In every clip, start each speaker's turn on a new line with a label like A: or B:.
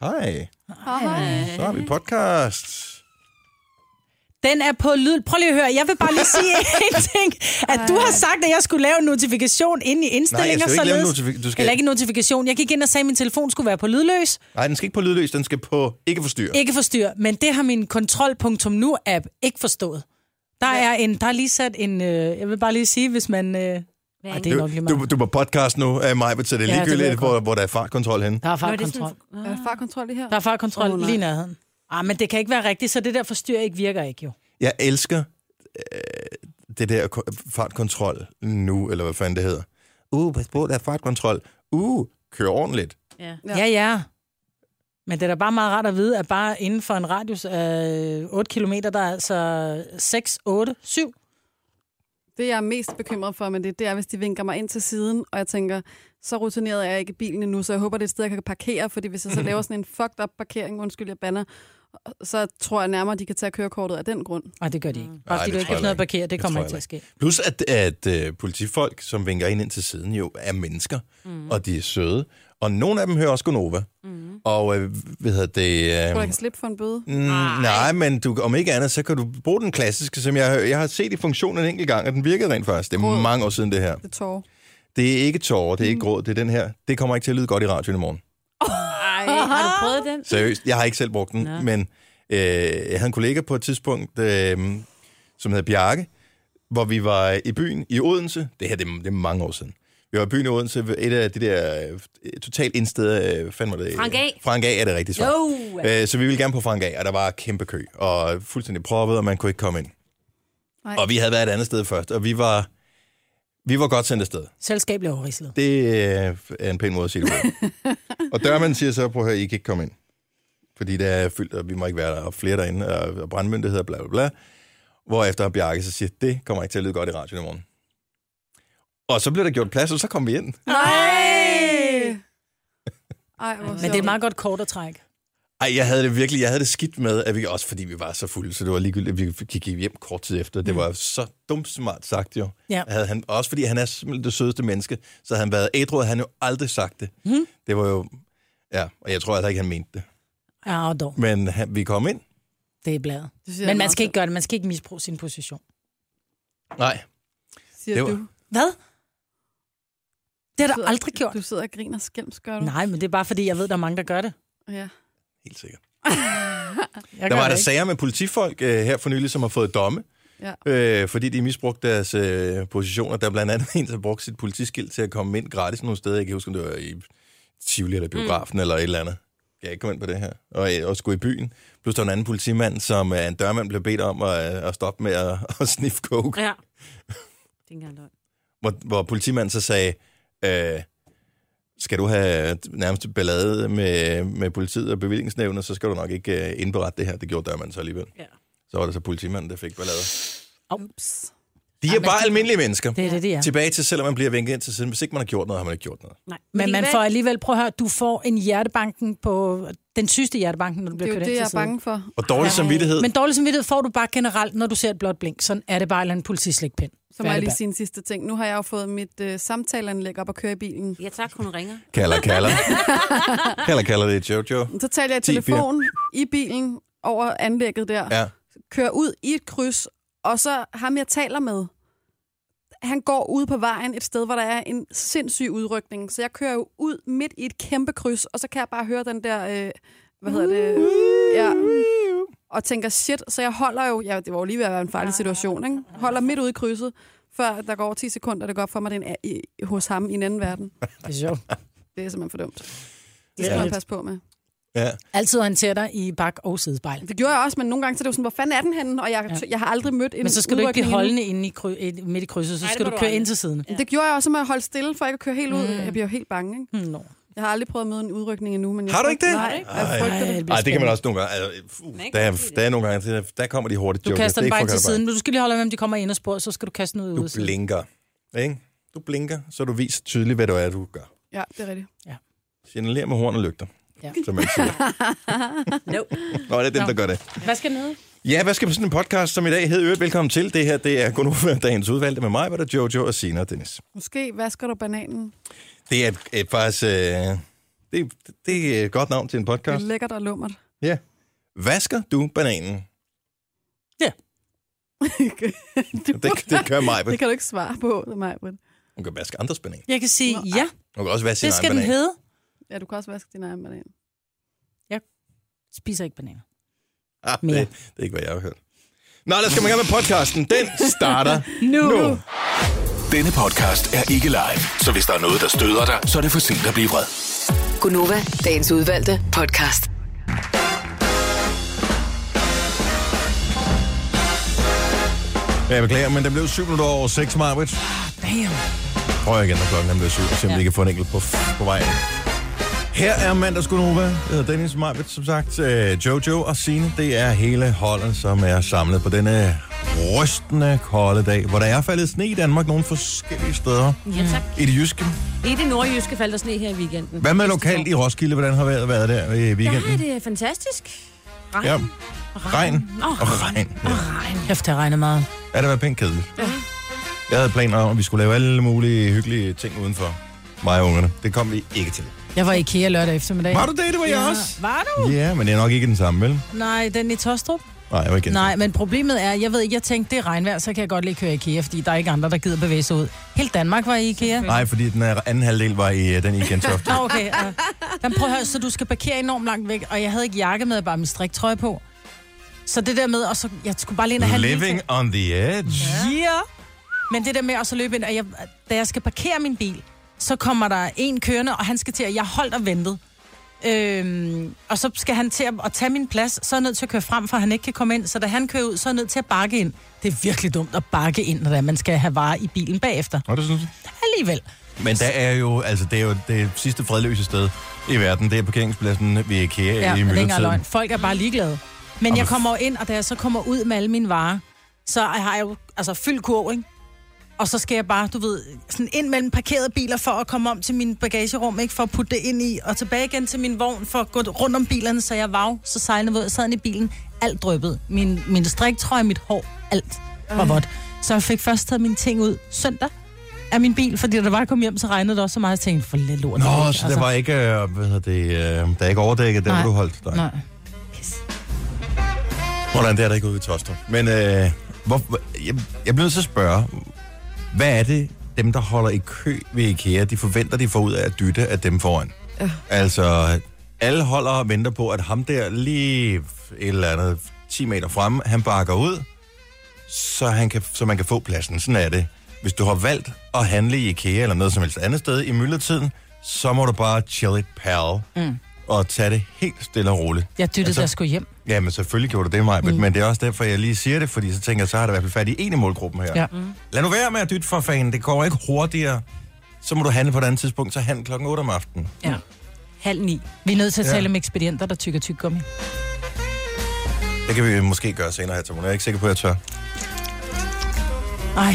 A: Hej,
B: Øh,
A: så har vi podcast.
B: Den er på lyd. Prøv lige at høre. Jeg vil bare lige sige en ting. At du har sagt, at jeg skulle lave en notifikation inde i
A: Nej, jeg
B: indstillinger.
A: skal jo ikke lave en
B: således-
A: notifikation. Du skal...
B: Eller ikke en notifikation. Jeg gik ind og sagde, at min telefon skulle være på lydløs.
A: Nej, den skal ikke på lydløs, den skal på ikke forstyrre.
B: Ikke forstyr. Men det har min kontrol.nu-app ikke forstået. Der er, en, der er lige sat en... Øh, jeg vil bare lige sige, hvis man... Øh, ej, det er
A: Du,
B: nok lige meget.
A: du, du er på podcast nu, af mig, så det er
B: Ja, det ved
A: ligegyldigt,
B: jeg
A: hvor, hvor der er fartkontrol henne.
B: Der
C: Nå,
B: er
C: det er
B: fartkontrol.
C: sådan, er der fartkontrol lige her?
B: Der er fartkontrol
C: Åh,
B: oh,
C: nej.
B: lige i nærheden. Ah, men det kan ikke være rigtigt, så det der forstyr ikke virker ikke jo.
A: Jeg elsker øh, det der ko- fartkontrol nu, eller hvad fanden det hedder. Uh, pas på, der er fartkontrol. Uh, kør ordentligt.
C: Ja.
B: Ja, ja. ja. Men det er da bare meget rart at vide, at bare inden for en radius af 8 km, der er altså 6, 8, 7.
C: Det, jeg er mest bekymret for med det, det er, hvis de vinker mig ind til siden, og jeg tænker, så rutineret er jeg ikke i bilen endnu, så jeg håber, det er et sted, jeg kan parkere, fordi hvis jeg så laver sådan en fucked up parkering, undskyld, jeg banner, så tror jeg nærmere, de kan tage kørekortet af den grund.
B: Nej, det gør de ikke.
A: Nej,
B: Bare fordi
A: det
B: du ikke
A: tror
B: har
A: jeg
B: noget at
A: ikke.
B: parkere, det,
A: Det
B: kommer
A: tror
B: ikke til at ske.
A: Plus at, at øh, politifolk, som vinker ind ind til siden, jo er mennesker,
B: Mhm.
A: mm. og de er søde. Og nogle af dem hører også Gonova. Mm. Og øh, hvad hedder det...
C: Tror du, jeg
A: Øh,
C: kan slippe for en bøde?
A: Mm, nej, men du, om ikke andet, så kan du bruge den klassiske, som jeg, jeg har set i funktionen en enkelt gang, og den virkede rent faktisk. Det er
C: Gråd.
A: mange år siden, det her.
C: Det tårer.
A: Det er ikke tårer, det er ikke gråd, det er den her. Det kommer ikke til at lyde godt i radioen i morgen.
D: Ej, har du prøvet den?
A: Seriøst, jeg har ikke selv brugt den,
D: Nå.
A: men øh, jeg havde en kollega på et tidspunkt, øh, som hedder Bjarke, hvor vi var i byen i Odense. Det her, det er, det er mange år siden. Vi var i byen i Odense, ved et af de der øh, totalt indsteder, øh, fandme det?
D: Frank A.
A: Frank A er det rigtige svar.
D: Jo!
A: Øh, så vi ville gerne på Frank A, og der var kæmpe kø, og fuldstændig proppet, og man kunne ikke komme ind.
C: Nej.
A: Og vi havde været et andet sted først, og vi var, vi var godt sendt afsted.
B: Selskab bliver overrislet.
A: Det øh, er en pæn måde at sige det på. og dørmanden siger så, prøv at høre, I kan ikke komme ind. Fordi det er fyldt, og vi må ikke være der, og flere derinde, og, og brandmyndigheder, bla bla bla. Hvorefter Bjarke så siger, det kommer ikke til at lyde godt i radioen i morgen. Og så blev der gjort plads, og så kom vi ind.
C: Nej! Ej, hvor
B: Men
C: sjovt.
B: det er et meget godt kort at trække.
A: Ej, jeg havde det virkelig, jeg havde det skidt med, at vi også fordi vi var så fulde, så det var ligegyldigt, at vi gik hjem kort tid efter. Det var så dumt smart sagt jo.
B: Ja.
A: Havde han, også fordi han er simpelthen det sødeste menneske, så havde han været ædru, havde han jo aldrig sagt det. Mm. Det var jo, ja, og jeg tror altså ikke, han mente det.
B: Ja, og dog.
A: Men han, vi kom ind.
B: Det er bladet.
C: Det siger jeg
B: Men man
C: meget
B: skal ikke gøre det. Man skal ikke misbruge sin position.
A: Nej,
C: selv, Siger
A: Det var-
C: du.
B: Hvad? Det har
C: Du
B: du
C: sidder-
B: aldrig gjort.
C: Du sidder og griner skælmsk, gør du?
B: Nej, men det er bare fordi, jeg ved, der er mange, der gør det.
C: Ja.
A: helt sikkert.
B: Jeg
A: Der
B: gør
A: var der
B: det ikke.
A: sager med politifolk øh, her for nylig, som har fået domme,
C: Ja.
A: øh, fordi de misbrugte deres øh, positioner. Der er blandt andet en, der brugte sit politiskilt til at komme ind gratis nogle steder. Jeg kan huske, om det var i Tivoli eller biografen mm. eller et eller andet. Jeg kan ikke komme ind på det her. Og, øh, og skulle i byen. Plus der var en anden politimand, som øh, en dørmand blev bedt om at, øh, at stoppe med at, at sniffe coke.
D: Ja. Det er ikke engang løgn.
A: Hvor, hvor politimanden så sagde, øh, skal du have nærmest ballade med, med politiet og bevillingsnævnet, så skal du nok ikke øh, indberette det her. Det gjorde dørmanden så alligevel.
D: Ja.
A: Så var det så politimanden, der fik ballade.
C: Ups.
A: De er
B: Ej, men
A: bare
B: det-
A: almindelige mennesker.
B: Det er det, det er.
A: Tilbage til, selvom man bliver vinket ind til siden. Hvis ikke man har gjort noget, har man ikke gjort noget.
D: Nej.
B: Men
D: det
B: man
D: kan
B: får
D: være-
B: alligevel, prøv at høre, du får en hjertebanken på, den sygeste hjertebanken, når du
C: Det er
B: bliver
C: jo
B: kørt
C: det, jeg
B: ind til
C: er
B: siden.
C: bange for.
A: Og dårlig samvittighed.
B: Men dårlig samvittighed får du bare generelt, når du ser et blåt blink. Sådan er det bare eller en politislægpind.
C: Så må jeg lige sige en sidste ting. Nu har jeg jo fået mit øh, samtaleanlæg op at køre i bilen.
D: Ja tak, hun ringer.
A: Kalder, kalder. kalder, kalder det er Jojo.
C: Så taler jeg i
A: 10-4.
C: telefon i bilen over anlægget der.
A: Ja.
C: kører ud i et kryds, og så ham, jeg taler med, han går ude på vejen et sted, hvor der er en sindssyg udrykning. Så jeg kører jo ud midt i et kæmpe kryds, og så kan jeg bare høre den der, øh, hvad hedder det, ja, og tænker shit. Så jeg holder jo, ja, det var jo lige ved at være en farlig situation, ikke? holder midt ude i krydset, før der går 10 sekunder, det går op for mig, den er i, hos ham i en anden verden.
B: Det er sjovt.
C: Det er simpelthen for dumt. Det skal
B: Ja.
C: man passe på med.
A: Ja.
B: Altid orientere dig i bak- og sidespejl.
C: Det gjorde jeg også, men nogle gange så er det jo sådan, hvor fanden er den henne? Og jeg, jeg har aldrig mødt en
B: Men så skal du ikke blive
C: udrykning endnu.
B: holdende inde i kry- i- midt i krydset, så
D: Nej, det
B: skal
D: må
B: du
D: du
B: køre
D: aldrig.
B: ind til siden.
C: Ja. Det gjorde jeg også med at holde stille, for ikke at køre helt ud. Jeg bliver jo helt bange. Ikke?
B: Hmm, Nå.
C: Jeg har aldrig prøvet at møde en udrykning endnu. Men jeg
A: Har du ikke det?
C: Nej, jeg frygter
B: Ej,
C: det.
B: bliver
A: Ej, det kan man
B: spændende.
A: også nogle gange. Altså, uh,
D: Nej,
A: der,
D: ikke
A: er,
D: fordi
A: der er nogle gange, der, der kommer de hurtigt.
B: Du
A: Jojo.
B: kaster
A: Det
B: den
A: er
B: bare
A: ikke
B: ind
A: for
B: til
A: Kalderbank.
B: siden. Men du skal lige holde øje med, om de kommer ind og spor, så skal du kaste den ud i
A: Du
B: udsiden.
A: blinker. Ikke? Du blinker, så du viser tydeligt, hvad det er, du gør.
C: Ja, det er rigtigt.
A: Signaler med horn og lygter.
B: Ja.
A: Som man siger.
D: No.
A: Nå, det er dem,
B: Nå.
A: der gør det.
B: Hvad skal den hedde?
A: Ja, hvad skal på sådan en podcast som i dag hedder? Øvrigt, velkommen til. Det her, det er Gunova, dagens udvalgte med mig, hvor der er Jojo og Sina og Dennis.
C: Måske vasker du bananen.
A: Det er et, et, faktisk... Øh, Det, det er et godt navn til en
E: Det er
A: podcast.
E: lækkert og lummert.
A: Vasker du bananen? Det, det gør mig.
E: det kan du ikke svare på, mig.
A: Hun kan vaske andres banan.
B: Jeg kan sige,
E: Nå,
B: ja,
A: Hun kan også vaske
B: det
A: sin
B: skal
A: egen
B: den
A: banan.
B: hedde.
E: Ja, du kan også vaske din egen banan.
B: Spiser ikke bananer.
A: Ah, det,
B: mere.
A: det er ikke, hvad jeg har hørt. Nå, lad os komme i gang med podcasten. Den starter
B: Nu.
A: nu.
F: Denne podcast er ikke live, så hvis der er noget, der støder dig, så er det for sent at blive vred.
G: Gunova, dagens udvalgte podcast.
A: Ja, jeg beklager, men den blev 7 minutter over 6, Marvitt.
B: Damn.
A: Prøv igen, når klokken er blevet 7, og se om ja. vi kan få en enkelt på, på vejen. Her er mandagsgunova. Jeg hedder Dennis Marvitt, som sagt. Øh, Jojo og Sine, det er hele holdet, som er samlet på denne rystende kolde dag, hvor der er faldet sne i Danmark nogle forskellige steder.
H: Ja, tak.
A: I det jyske.
H: I det nordjyske faldt der sne her i weekenden.
A: Hvad med lokalt i Roskilde? Hvordan har vejret været der i
H: Der er
A: weekenden?
H: det fantastisk. Regn.
A: Ja,
H: Ja.
A: regn og regn. Ja.
B: Kæft, det regner meget.
A: Ja, det var pænt kedeligt. Jeg havde planer om, at vi skulle lave alle mulige hyggelige ting udenfor. Mig og ungerne. Det kom vi ikke til.
B: Jeg var i IKEA lørdag eftermiddag.
A: Var du det? Det var jeg
B: Ja.
A: også.
B: Var du?
A: Ja, men det er nok ikke den samme, vel?
B: Nej, den i Tostrup?
A: Nej, jeg var ikke den
B: Nej,
A: samme.
B: men problemet er, jeg ved ikke, jeg tænkte, det er regnvejr, så kan jeg godt lige køre i IKEA, fordi der er ikke andre, der gider bevæge sig ud. Helt Danmark var i IKEA.
A: Nej, fordi den her anden halvdel var i øh, den i Gentofte.
B: Nå, okay. Ja. Jamen, prøv at høre, så du skal parkere enormt langt væk, og jeg havde ikke jakke med, bare min striktrøje på. Så det der med, og så, jeg skulle bare lige ind og have en lille
A: Living on the edge.
B: ting. Ja. Men det der med at så løbe ind, og jeg, da jeg skal parkere min bil, så kommer der en kørende, og han skal til at, jeg holdt og ventet. Øhm, og så skal han til at, at tage min plads, så er jeg nødt til at køre frem, for han ikke kan komme ind. Så da han kører ud, så er jeg nødt til at bakke ind. Det er virkelig dumt at bakke ind, når det er, man skal have varer i bilen bagefter.
A: Nå, det synes jeg.
B: Alligevel.
A: Men der er jo, altså, det er jo det sidste fredløse sted i verden. Det er parkeringspladsen ved IKEA i
B: Ja, men det er ikke engang
A: myldretiden.
B: løgn. Folk er bare ligeglade. Men jeg kommer jo ind, og da jeg så kommer ud med alle mine varer, så har jeg jo altså, fyldt kurv, ikke? Og så skal jeg bare, du ved, sådan ind mellem parkerede biler for at komme om til min bagagerum, ikke? For at putte det ind i, og tilbage igen til min vogn for at gå rundt om bilerne, så jeg var jo så sejlende våd. Jeg sad inde i bilen, alt drøbbede. Min, min striktrøje, mit hår, alt var vådt. Så jeg fik først taget mine ting ud søndag af min bil, fordi da jeg bare kom hjem, så regnede det også så meget, jeg tænkte, for lidt lort.
A: Nå,
B: ikke?
A: så der var ikke, øh, hvad hedder det, øh, der er ikke overdækket, der
B: Altså. Nej.
A: hvor du holdt dig.
B: Nej.
A: Hvordan det er der ikke ude i Tostrup. Men øh, hvor, jeg, jeg bliver nødt til at spørge, hvad er det, dem, der holder i kø ved IKEA, de forventer, de får ud af at dytte af dem foran? Ja. Altså, alle holder og venter på, at ham der lige et eller andet 10 meter fremme, han bakker ud, så, han kan, så man kan få pladsen. Sådan er det. Hvis du har valgt at handle i IKEA eller noget som helst andet sted i myldretiden, så må du bare chill it, pal. Mm. Og tage det helt stille og roligt.
B: Jeg dyttede,
A: Altså-
B: altså, der skulle hjem.
A: Ja, men selvfølgelig gjorde du det, Maja, mm. men det er også derfor, jeg lige siger det, fordi så tænker jeg, så har der i hvert fald fat i en i målgruppen her.
B: Ja.
A: Mm. Lad nu være med at dytte for fanden, det går ikke hurtigere. Så må du handle på et andet tidspunkt, så handle klokken 8 om aftenen.
B: Ja.
H: Halv ni.
B: Vi er nødt til at
A: Ja.
B: tale om ekspedienter, der tykker tyk gummi.
A: Det kan vi måske gøre senere her, Simon. Jeg er ikke sikker på, at jeg tør.
B: Ej,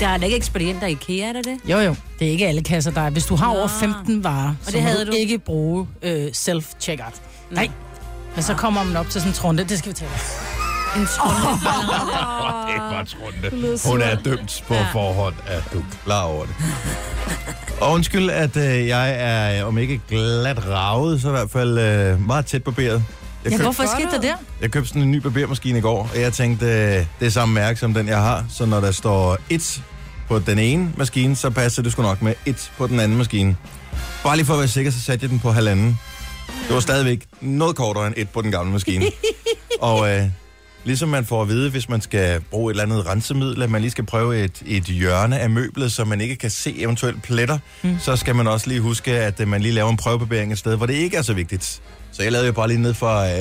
H: Der er da ikke ekspedienter i IKEA, er der det?
B: jo jo, det er ikke alle kasser, der er. Hvis du har
H: Nå.
B: over 15 varer, og så
H: det
B: må
H: havde
B: du,
H: du.
B: ikke bruge øh, self-checkout. Nej. Men så kommer man op til sådan en trunde, det skal vi tale om.
A: Oh, det var Trunde. Hun er dømt på ja. forhånd. Er du klar over det? Og undskyld, at øh, jeg er, om ikke glat ravet, så i hvert fald øh, meget tæt barberet. Jeg
B: Ja,
A: købte-
B: hvorfor skete der der?
A: Jeg købte sådan en ny barbermaskine i går, og jeg tænkte, øh, det er samme mærke som den, jeg har. Så når der står et på den ene maskine, så passer det sgu nok med et på den anden maskine. Bare lige for at være sikker, så satte jeg den på halvanden. Det var stadigvæk noget kortere end et på den gamle maskine. og øh, ligesom man får at vide, hvis man skal bruge et eller andet rensemiddel, at man lige skal prøve et, et hjørne af møblet, så man ikke kan se eventuelle pletter, mm. så skal man også lige huske, at øh, man lige laver en prøvebarbering et sted, hvor det ikke er så vigtigt. Så jeg lavede jo bare lige ned fra, øh,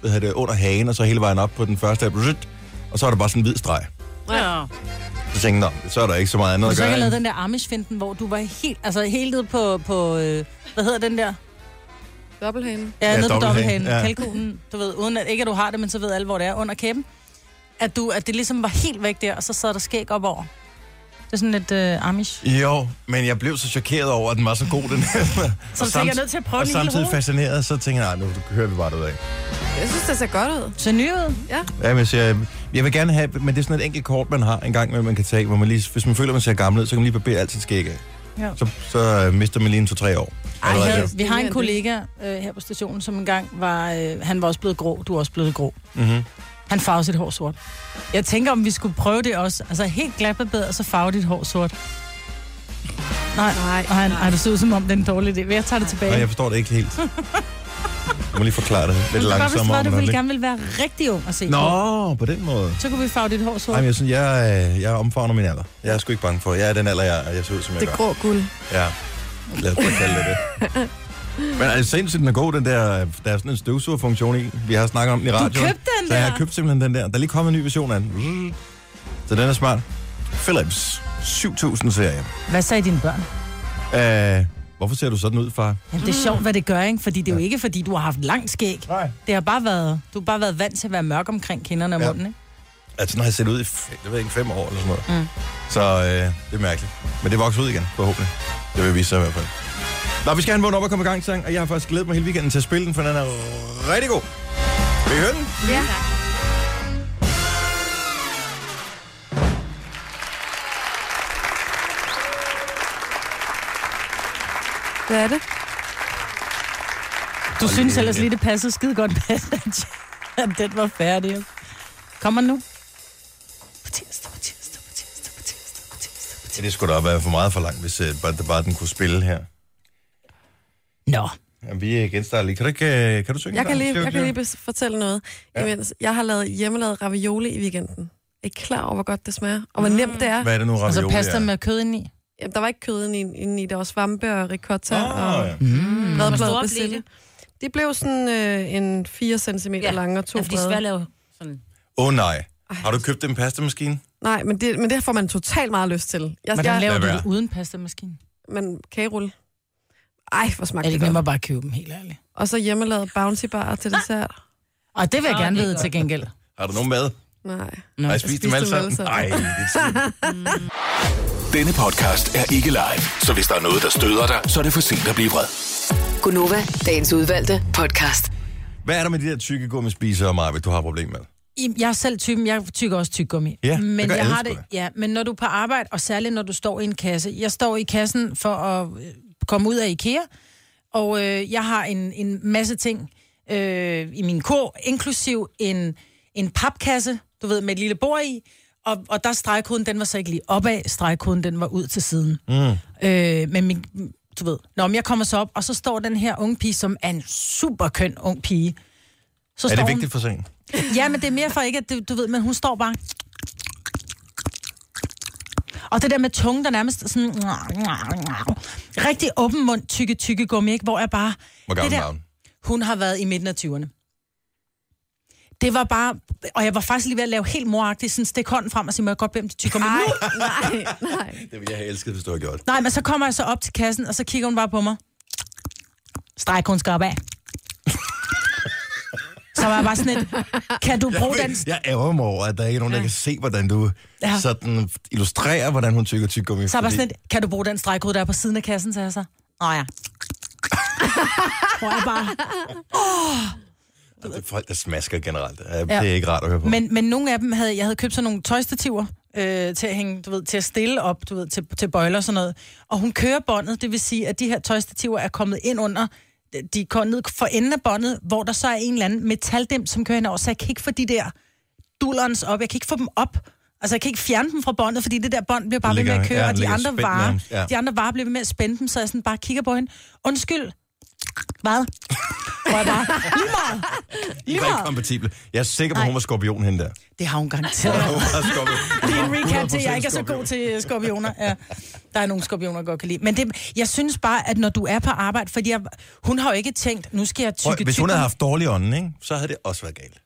A: hvad hedder det, under hagen, og så hele vejen op på den første, og så er der bare sådan en hvid streg.
H: Ja.
A: Så tænkte jeg, "Nå, så er der ikke så meget andet
B: Du
A: at
B: så ikke
A: gøre.
B: have lavet
A: end-
B: den der Amish-finden, hvor du var helt, altså helt nede på, på øh, hvad hedder den der?
E: Dobbelthane.
B: Ja,
A: Ja,
B: ja nede på
A: dobbelthagen,
B: dobbelthanen,
A: ja.
B: ja. kalkunen, du ved, uden at, ikke at du har det, men så ved alle, hvor det er under kæben. At, du, at det ligesom var helt væk der, og så sad der skæg op over. Det er sådan lidt øh, Amish.
A: Jo, men jeg blev så chokeret over, at den var så god, den her.
B: Så
A: Og
B: du tænker, jeg
A: samt-
B: er nødt til at prøve
A: og
B: den i hele
A: samtidig
B: hovedet.
A: fascineret, så tænker jeg, nej, nu hører vi bare det af.
E: Jeg synes, det ser godt ud.
B: Så ny ud.
A: Ja, men så jeg, jeg vil gerne have, men det er sådan et enkelt kort, man har en gang, med, man kan tage, hvor man lige, hvis man føler, man ser gammel ud, så kan man lige barbere alt sit skæg af.
B: Ja.
A: Så, så øh, mister man lige en to-tre år. Er du
B: Ej,
A: rigtig?
B: havde, vi har en kollega øh, her på stationen, som engang var... Øh, han var også blevet grå, du er også blevet grå.
A: Mhm.
B: Han farvede sit hår sort. Jeg tænker, om vi skulle prøve det også. Altså helt glatbarberet, og så farve dit hår sort. Nej, nej, nej. nej det ser ud som om, det er en dårlig idé. Men Jeg tager det tilbage.
A: Nej, jeg forstår det ikke helt. Jeg må lige forklare det lidt
B: det var, hvis det
A: langsommere.
B: var, du
A: om et
B: ville
A: øjeblik.
B: gerne ville være rigtig ung at se på.
A: Nå, på den måde.
B: Så kunne vi farve dit hår sort.
A: Ej, men jeg, synes, jeg, øh, jeg omfavner min alder. Jeg er sgu ikke bange for, jeg er den alder, jeg, er. jeg ser ud, som jeg
E: Det
A: gør.
E: grå guld.
A: Ja, lad os bare kalde det det. Men er det sindssygt, den er god, den der, der er sådan en støvsugerfunktion i. Vi har snakket om den i radioen.
B: købte den
A: så jeg
B: der?
A: har købt simpelthen den der. Der er lige kommet en ny version af den. Så den er smart. Philips 7000 serie.
B: Hvad sagde dine børn?
A: Øh, hvorfor ser du sådan ud, far?
B: Jamen, det er sjovt, hvad det gør, ikke? Fordi det er jo ikke, fordi du har haft langt skæg.
A: Nej.
B: Det har bare været, du har bare været vant til at være mørk omkring kinderne og
A: Ja.
B: munden, ikke?
A: Altså, sådan har jeg set ud i f- jeg ved ikke, fem år eller sådan noget. Mm. Så øh, det er mærkeligt. Men det vokser ud igen, forhåbentlig. Det vil vise sig i hvert fald. Nå, vi skal have en vågen op og komme i gang sang, og jeg har faktisk glædet mig hele weekenden til at spille den, for den er rigtig god. Vil I høre den?
E: Ja. Hvad er det?
B: Du
A: Hold
B: synes
A: da
B: ellers
A: igen.
B: lige, det passede skide godt med, at- at den var færdig. Kommer den nu? På tirsdag, på tirsdag, på tirsdag, på tirsdag, på tirsdag, på
A: Ja,
B: tirsdag.
A: det skulle da være for meget for langt, hvis øh, bare, bare den kunne spille her.
B: Nå,
A: Jamen, vi øh, genstarter lige. Kan du, ikke, øh, kan du synge?
E: Jeg kan
A: den?
E: lige,
A: Skal du
E: jeg kan lige
A: ikke
E: bes- fortælle noget. Ja. Imens jeg har lavet hjemmelavet ravioli i weekenden. Er I klar over, hvor godt det smager? Og hvor nemt det er?
A: det? Hvad er det nu,
B: og
A: ravioli
B: så pasta
A: er?
B: med kød ind i.
E: Jamen, der var ikke kød inde i, inde i. Der var svampe og ricotta
A: Ah,
E: og
A: ja.
H: Mm. Hvor
E: bredbladet
H: store blev
E: basilikum.
H: det?
E: Det blev sådan øh, en 4 cm
H: Ja.
E: ja. lang og to
H: Ja, fordi
E: brede.
H: Sverige laver sådan...
A: Åh oh, nej. Har du købt en pastamaskine?
E: Nej, men det, men det får man totalt meget lyst til. Jeg,
B: Hvordan
E: jeg,
B: laver
A: Lad
B: du
A: være.
B: det uden pasta maskinen?
E: men kagerulle. Ej, hvor
B: Er
E: smagte
B: det
E: det
B: ikke nemmere
E: godt.
B: bare at købe dem, helt ærligt?
E: Og så hjemmelavet bouncy bar til dessert.
B: Og det vil jeg
H: Nå,
B: gerne
H: det er
B: vide
H: godt.
B: til gengæld.
A: Har du nogen mad?
E: Nej.
A: Har
B: jeg
A: jeg spist
E: spiste
A: dem alle
E: dem
A: sammen?
E: alle
A: Nej,
E: sammen.
A: det er sygt.
F: Denne podcast er ikke live, så hvis der er noget, der støder dig, så er det for sent at blive vred.
G: Gunova, dagens udvalgte podcast.
A: Hvad er der med de der tykke gummispisere, Marvitt, du har problemer med?
B: I- Jeg er selv typen, jeg tykker også tyggegummi.
A: Ja, det
B: men
A: gør
B: jeg
A: alle
B: har
A: sgu
B: det, ja, men når du er på arbejde, og særligt når du står i en kasse. Jeg står i kassen for at øh, komme ud af IKEA, og øh, jeg har en, en masse ting øh, i min kur, inklusiv en, en papkasse, du ved, med et lille bord i, og, og der stregkoden, den var så ikke lige opad, stregkoden, den var ud til siden. Mm. Øh, men min, du ved, når jeg kommer så op, og så står den her unge pige, som er en super køn ung pige.
A: Er
B: Så står
A: det
B: hun-
A: vigtigt for sent?
B: Ja, men det er mere for ikke, at det, du ved, men hun står bare... Og det der med tungen, der nærmest sådan... Rigtig åben mund, tykke, tykke gummi, ikke? Hvor jeg bare...
A: Hvor gammel
B: det
A: er hun?
B: Hun har været i midten af 20'erne. Det var bare... Og jeg var faktisk lige ved at lave helt moragtigt, sådan stik hånden frem og sige, må jeg godt bede om det tykke gummi?
E: Nej,
B: Nu!
E: nej, nej.
A: Det ville jeg have elsket, hvis du havde gjort.
B: Nej, men så kommer jeg så op til kassen, og så kigger hun bare på mig. Stræk hun skarp af. Så var jeg bare sådan et, kan du bruge den
A: Jeg ærger mig over, at der ikke er nogen, der kan se, hvordan du
B: Ja.
A: sådan illustrerer, hvordan hun tykker tyk gummi.
B: Så er jeg bare
A: fordi-
B: sådan lidt, kan du bruge den stregkode, der er på siden af kassen, sagde jeg så. Nå ja. Hvor jeg bare...
A: Det er folk, der smasker generelt. Ja, Det
B: Ja.
A: er ikke rart at høre på.
B: Men, men nogle af dem havde, jeg havde købt sådan nogle tøjstativer øh, til at hænge, du ved, til at stille op, du ved, til, til bøjler og sådan noget. Og hun kører båndet, det vil sige, at de her tøjstativer er kommet ind under, de er kommet ned for enden af båndet, hvor der så er en eller anden metaldem, som kører henover, så jeg kan ikke få de der dullerens op, jeg kan ikke få dem op. Altså, jeg kan ikke fjerne dem fra båndet, fordi det der bånd bliver bare ved med
A: Ligger-
B: at køre,
A: ja,
B: ja, og de
A: ligger
B: andre,
A: spændt
B: varer,
A: nærmest, ja.
B: ja. de andre varer bliver ved med at spænde dem, så jeg sådan bare kigger på hende. Undskyld. Hvad? Hvor jeg bare, lige meget. Lige
A: I var ikke
B: meget.
A: kompatible. Jeg er sikker på,
B: Nej.
A: hun var skorpion hende der.
B: Det har hun garanteret.
A: Hun var skorpion.
B: Det er en recap til,
A: 100%
B: jeg ikke er så
A: skorpion.
B: god til øh, skorpioner. Ja. Der er nogle skorpioner, jeg godt kan lide. Men det, jeg synes bare, at når du er på arbejde, fordi jeg, hun har jo ikke tænkt, nu skal jeg
A: Prøv,
B: tykke
A: Hvis hun havde
B: tyggegummi.
A: haft dårlig ånden, ikke? så havde det også været
B: Mm,
A: galt.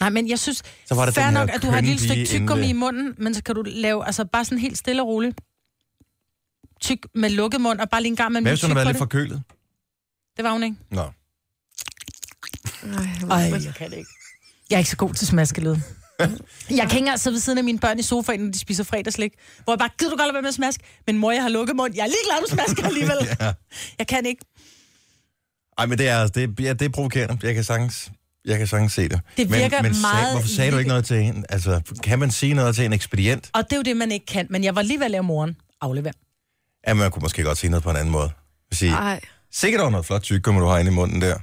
B: Nej, men jeg synes,
A: Så var der
B: fair
A: den her
B: nok, at du har et lille
A: kønne
B: stykke
A: pige inde
B: tyggegummi
A: ved-
B: i munden, men så kan du lave altså bare sådan helt stille og roligt. Tyk med lukket mund, og bare lige en gang med
A: Hvad
B: en
A: hvis hun havde
B: tyk
A: været
B: på
A: lidt
B: det. For...
A: forkølet?
B: Det var hun ikke.
A: Nå.
E: Ej,
B: Ej, jeg kan det ikke. Jeg er ikke så god til smaskelyd. Jeg kan ikke engang sidde ved siden af mine børn i sofaen, når de spiser fredagslik. Hvor jeg bare, gider du godt lade være med at smaske? Men mor, jeg har lukket mund. Jeg er ligeglad, du smasker alligevel.
A: Ja.
B: Jeg kan ikke.
A: Ej, men det er, altså- det, ja, det er provokerende. Jeg kan sagtens, jeg kan sagtens se det.
B: Det virker
A: men, men
B: meget
A: Sag, hvorfor sagde du ikke
B: lille.
A: noget til hende? Altså, kan man sige noget til en ekspedient?
B: Og det er jo det, man ikke kan. Men jeg var lige ved at lave moren aflever.
A: Ja, man kunne måske godt sige noget på en anden måde. Sige,
E: Ej.
A: Sikkert over noget flot tyggegummi, du har inde i munden der.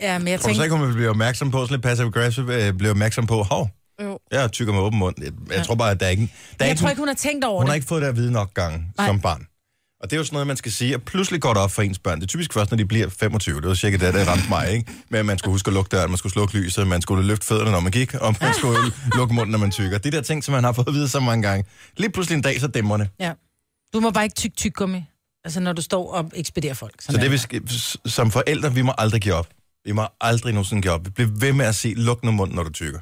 B: Ja, men jeg
A: Tror du så
B: tænker...
A: ikke, hun vil blive opmærksom på, sådan lidt passive aggressive, øh, blive opmærksom på, hov,
E: Jo.
A: jeg tykker med åben mund. Jeg, jeg tror bare, at der er ikke... Der er
B: Jeg tror ikke, hun har tænkt over
A: Hun
B: det.
A: har ikke fået det at vide nok gange
B: Nej.
A: Nej. som barn. Og det er jo sådan noget, man skal sige, at pludselig går det op for ens børn. Det er typisk først, når de bliver 25. Det var cirka det, der ramte mig, ikke? Men man skulle huske at lukke døren, man skulle slukke lyset, man skulle løfte fødderne, når man gik, og man skulle lukke munden, når man tykker. De der ting, som man har fået at vide så mange gange. Lige pludselig en dag, så dæmmer det.
B: Ja. Du må bare ikke tykke tyggegummi. Altså, når du står og ekspederer folk.
A: Så det, vi skal, som forældre, vi må aldrig give op. Vi må aldrig nogensinde give op. Vi bliver ved med at sige, luk nu munden, når du tykker.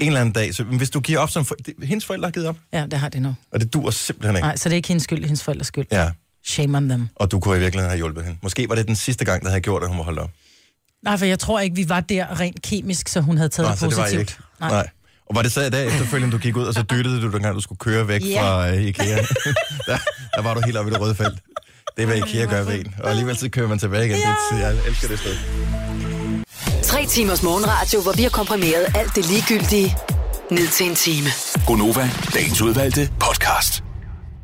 A: En eller anden dag. Så hvis du giver op, som for... det, hendes forældre har givet op,
B: Ja, det har det nu.
A: og det dur simpelthen ikke.
B: Nej, så det er ikke hendes skyld, det er hendes forældres skyld.
A: Ja,
B: Shame on them.
A: og du kunne i virkeligheden have hjulpet hende. Måske var det den sidste gang, der havde gjort, at hun var holdt op.
B: Nej, for jeg tror ikke, vi var der rent kemisk, så hun havde taget
A: Nå,
B: det
A: så det
B: positivt.
A: var I ikke. Nej. Nej. Og var det så i dag efterfølgende, du gik ud, og så dyttede du, dengang du skulle køre væk
B: Ja.
A: yeah. fra øh, IKEA? der, der var du helt oppe i det røde felt. Det er, hvad IKEA gør ved en. Og alligevel så kører man tilbage igen. Yeah. Jeg elsker det sted.
G: Tre timers morgenradio, hvor vi har komprimeret alt det ligegyldige ned til en time.
F: Gonova, dagens udvalgte podcast.